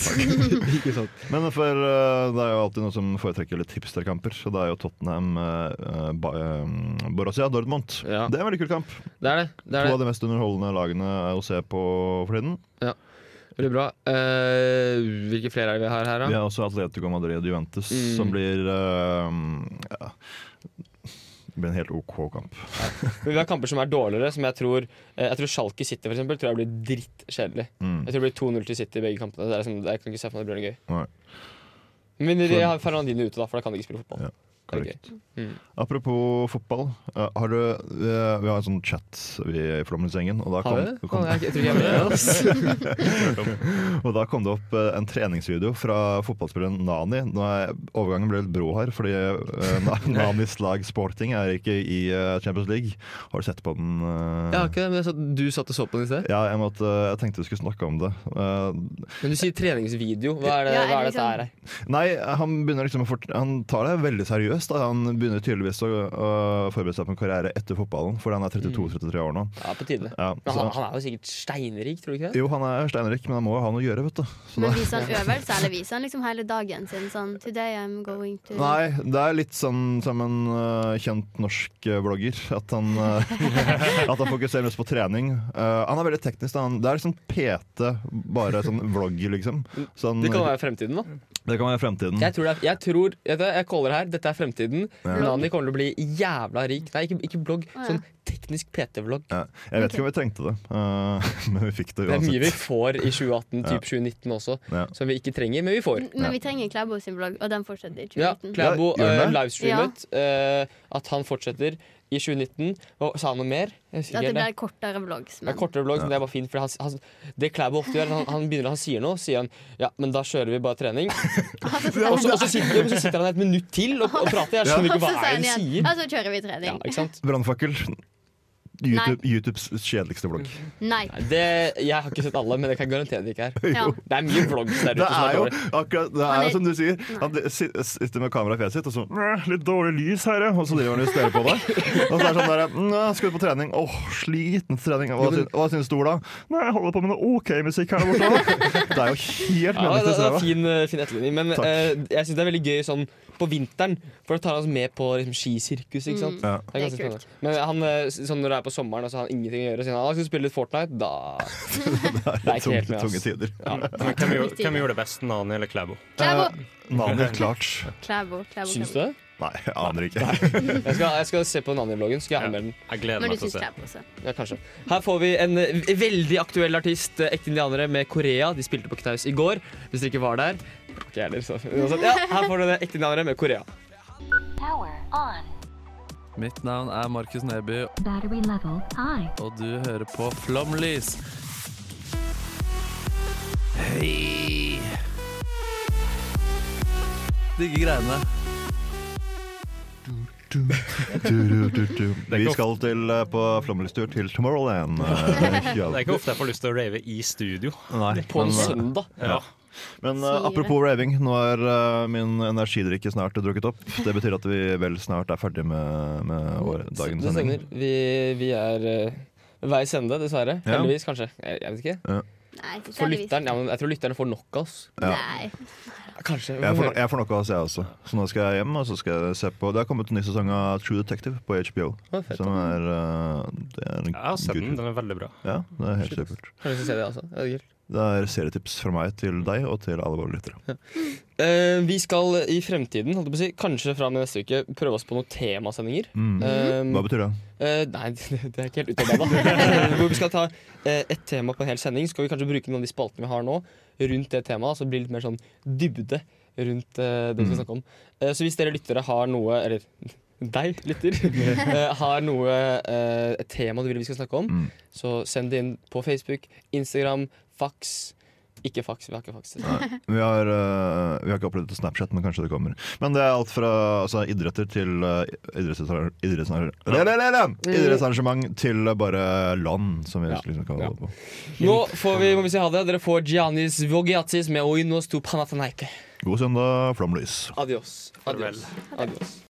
Speaker 2: Men for eh, det er jo alltid noen som foretrekker litt hipsterkamper, så det er jo Tottenham eh, ba, eh, Borussia Dortmund. Det er en veldig kul kamp.
Speaker 3: Det er det.
Speaker 2: To
Speaker 3: det, er
Speaker 2: av
Speaker 3: det.
Speaker 2: de mest underholdende lagene å se på for tiden.
Speaker 3: Ja. Veldig bra. Eh, hvilke flere er det vi har her, da?
Speaker 2: Vi har også Atletico Madrid og Juventus,
Speaker 3: Mm.
Speaker 2: som blir eh, ja, Det blir en helt OK kamp.
Speaker 3: Men vi har kamper som er dårligere, som jeg tror eh, Jeg tror Schalke City for eksempel, tror jeg blir drittkjedelig.
Speaker 2: Mm.
Speaker 3: Jeg tror det blir 2-0 til City i begge kampene. Det er liksom, jeg kan ikke se for meg at det blir noe gøy.
Speaker 2: Nei,
Speaker 3: Men de har Fernandino ute, da, for da kan de ikke spille fotball.
Speaker 2: ja,
Speaker 3: Det er
Speaker 2: korrekt.
Speaker 3: gøy. Mm.
Speaker 2: Apropos fotball. eh, har du, eh, vi har en sånn chat vi i Flåmlendsengen. og da
Speaker 3: Har
Speaker 2: kom-
Speaker 3: vi det?
Speaker 2: kom-
Speaker 3: Faen, jeg- jeg tror ikke jeg
Speaker 2: [LAUGHS]
Speaker 3: vet det, ass.
Speaker 2: og da kom det opp eh, en treningsvideo fra fotballspilleren Nani. Nå er overgangen ble litt brå her, fordi eh,
Speaker 3: [LAUGHS]
Speaker 2: Na- Nanis lag Sporting er ikke i eh, Champions League. Har du sett på den? eh?
Speaker 3: Jeg har ikke det, men jeg sa- du satt og så på den i sted.
Speaker 2: Ja, jeg, måtte, eh, jeg tenkte vi skulle snakke om det. Eh,
Speaker 3: Men du sier treningsvideo. Hva er det,
Speaker 1: Ja,
Speaker 3: hva er
Speaker 1: eller sånn-
Speaker 3: dette her?
Speaker 2: Nei, han begynner liksom å fort Han tar det veldig seriøst. Da. Han begynner tydeligvis å, å forberede seg på en karriere etter fotballen, fordi han er 32-33 år nå.
Speaker 3: Mm. Ja, på tide.
Speaker 2: Ja,
Speaker 3: Men
Speaker 2: så-
Speaker 3: han, han er jo sikkert steinrik, tror du ikke det?
Speaker 2: [LAUGHS] Jo, han er steinrik, men han må jo ha noe å gjøre, vet du. Så
Speaker 1: Men
Speaker 2: da-
Speaker 3: [LAUGHS]
Speaker 1: viser han øvelse, eller viser han liksom hele dagen sin sånn Today I'm going to
Speaker 2: Nei, det er litt sånn som en øh, kjent norsk øh, blogger. At han, øh, [LAUGHS] at han fokuserer mest på trening. Øh, han er veldig teknisk. da. Han, det er liksom PT, bare sånn vlogg, liksom. Så han-
Speaker 3: Det kan være fremtiden,
Speaker 1: Mm.
Speaker 3: da.
Speaker 2: det kan være fremtiden.
Speaker 3: Jeg tror, det er, jeg, tror vet du, jeg caller her. Dette er fremtiden.
Speaker 2: Ja.
Speaker 3: Nani kommer til å bli jævla rik. Nei, ikke, ikke blogg.
Speaker 1: ja.
Speaker 3: Sånn teknisk PT-vlogg.
Speaker 2: Ja, jeg vet
Speaker 3: Ok.
Speaker 2: ikke om vi trengte det, øh, [LAUGHS] men vi fikk det
Speaker 3: Det er
Speaker 2: uansett.
Speaker 3: mye vi får i 2018,
Speaker 2: Ja.
Speaker 3: typ 2019 også,
Speaker 2: Ja.
Speaker 3: som vi ikke trenger, men vi får.
Speaker 1: Men vi trenger Klæbo sin blogg, og den fortsetter i
Speaker 3: Ja,
Speaker 1: 2019.
Speaker 3: Klæbo
Speaker 2: Ja, gjør den
Speaker 3: eh,
Speaker 2: det?
Speaker 3: livestreamet eh, at han fortsetter i 2019. Og sa han noe mer? Jeg husker ikke
Speaker 1: At det
Speaker 3: helt
Speaker 1: blir
Speaker 3: det.
Speaker 1: kortere vlogs.
Speaker 3: Det er
Speaker 1: [LAUGHS]
Speaker 3: kortere vlogg, men det er bare fint. For han, han, det Klæbo ofte gjør, han, han begynner han sier noe, sier han ja, men da kjører vi bare trening. [LAUGHS]
Speaker 1: sånn.
Speaker 3: Og så, og så, sitter, og så sitter han et minutt til og, og prater. Jeg skjønner ikke hva er
Speaker 1: Og [LAUGHS] så sier han
Speaker 3: det han
Speaker 1: igjen,
Speaker 3: sier.
Speaker 1: Og så kjører vi trening.
Speaker 2: Brannfakkel. YouTube, YouTubes kjedeligste vlogg.
Speaker 1: Nei.
Speaker 3: Nei, Det, jeg har ikke sett alle, men det kan jeg garantere det ikke er.
Speaker 2: Ja.
Speaker 3: Det er mye vlogs der
Speaker 2: Det
Speaker 3: ute. som
Speaker 2: er jo [LAUGHS]
Speaker 3: dårlig.
Speaker 2: akkurat det
Speaker 3: Han
Speaker 2: er
Speaker 3: er-
Speaker 2: jo som du sier. Han si- sitter med kamera i fjeset sitt og så "Mæ, Litt dårlig lys her, ja." Og så driver han og stirrer på deg. Og så er det sånn der "Nå Skal du på trening? Åh, sliten til trening. Hva, syns- hva syns du, Ola? Nei, jeg holder på med noe OK musikk her borte. Det er jo helt
Speaker 3: Ja, det, det er
Speaker 2: meningsløst. ræva.
Speaker 3: fin, eh, fin etterligning, men
Speaker 2: Takk.
Speaker 3: eh, jeg syns det er veldig gøy sånn på vinteren. For da tar han oss med på liksom, skisirkus. Ikke sant?
Speaker 2: Mm. Ja. [LAUGHS]
Speaker 3: Det er ganske
Speaker 1: Det er kult.
Speaker 3: spennende. Men han, eh, s- sånn, når det er på sommeren og så har han ingenting å gjøre, sier han «Ah, skal du spille litt Fortnite, da Det er ikke
Speaker 2: tunge-
Speaker 3: helt med, ass.
Speaker 2: tunge tider.
Speaker 6: Men Hvem, gjorde- hvem gjorde det best, Nani eller Klæbo?
Speaker 1: Klæbo!
Speaker 2: Nani, klart.
Speaker 1: Klæbo, Klæbo,
Speaker 3: Syns
Speaker 1: Klæbo.
Speaker 3: du det?
Speaker 2: Nei, jeg aner ikke. [LAUGHS]
Speaker 3: Jeg skal, jeg skal se på den andre vloggen. Skal jeg anmelde den?
Speaker 6: Jeg
Speaker 1: Når du syns det er pose.
Speaker 3: Ja, kanskje. Her får vi en eh, veldig aktuell artist, eh, ekte indianere, med Korea. De spilte på Knaus i går, hvis dere ikke var der. Ikke jeg heller, så uansett. Ja, her får dere ekte indianere med Korea.
Speaker 13: Mitt navn er Markus Neby, og du hører på Flomlys. Hei! Digge greiene.
Speaker 2: Vi skal til, eh, på flomlystur til
Speaker 3: [LAUGHS]
Speaker 2: Tomorrowland. eh,
Speaker 6: Det er ikke ofte jeg får lyst til å rave i studio.
Speaker 2: Nei, På en men- eh, søndag?
Speaker 6: Ja.
Speaker 2: Men eh,
Speaker 6: Sier det.
Speaker 2: apropos raving, nå er eh, min energidrikke snart drukket opp. Det betyr at vi vel snart er ferdig med, med vår, dagens
Speaker 3: Mm, Det
Speaker 2: sending.
Speaker 3: stemmer. Vi, vi er eh, ved veis ende, dessverre.
Speaker 2: Ja.
Speaker 3: Heldigvis, kanskje. Jeg, jeg vet ikke.
Speaker 2: Ja.
Speaker 5: Nei,
Speaker 3: For lytteren, ja, men jeg tror lytterne får nok av oss.
Speaker 2: Ja.
Speaker 5: Nei.
Speaker 3: Kanskje.
Speaker 2: Jeg får, no- jeg får noe av oss, jeg også. Så nå skal jeg hjem og så skal jeg se på Det har kommet en ny sesong av True Detective på HBO.
Speaker 3: Å, fett,
Speaker 2: som er, eh, det er en
Speaker 6: Jeg har sett
Speaker 2: gull.
Speaker 6: den, den er veldig bra.
Speaker 2: Ja, det er helt supert.
Speaker 3: Kanskje vi skal se det, altså. Jeg vet ikke. helt.
Speaker 2: Det er serietips fra meg til deg og til alle våre lyttere.
Speaker 3: Eh, vi skal i fremtiden, holdt jeg på å si, kanskje fra og med neste uke, prøve oss på noen temasendinger.
Speaker 2: Mm.
Speaker 3: Eh,
Speaker 2: Hva betyr det?
Speaker 3: Eh, nei, [LAUGHS] det det er ikke helt utarbeida. Hvor vi skal ta eh, et tema på en hel sending. Så skal vi kanskje bruke noen av de spaltene vi har nå, rundt det temaet. Så det blir litt mer sånn dybde rundt eh, det vi skal snakke om. Eh, så hvis dere lyttere har noe Eller [LAUGHS] deg, lytter. eh, har noe eh, et tema du vil vi skal snakke om, så send det inn på Facebook, Instagram, fax. Ikke fax, vi har ikke fax.
Speaker 2: Vi har, eh, vi har ikke opprettet Snapchat, men kanskje det kommer. Men det er alt fra altså, idretter til uh, idrettsarrangement Idrettsarrangement til eh, bare land, som vi liksom kan holde på.
Speaker 3: Nå får vi, må vi si ha det. Dere får Giannis Vogiatis med Oinos to Panathanaike.
Speaker 2: God søndag, flomlys.
Speaker 3: Adios. Adios. Adios.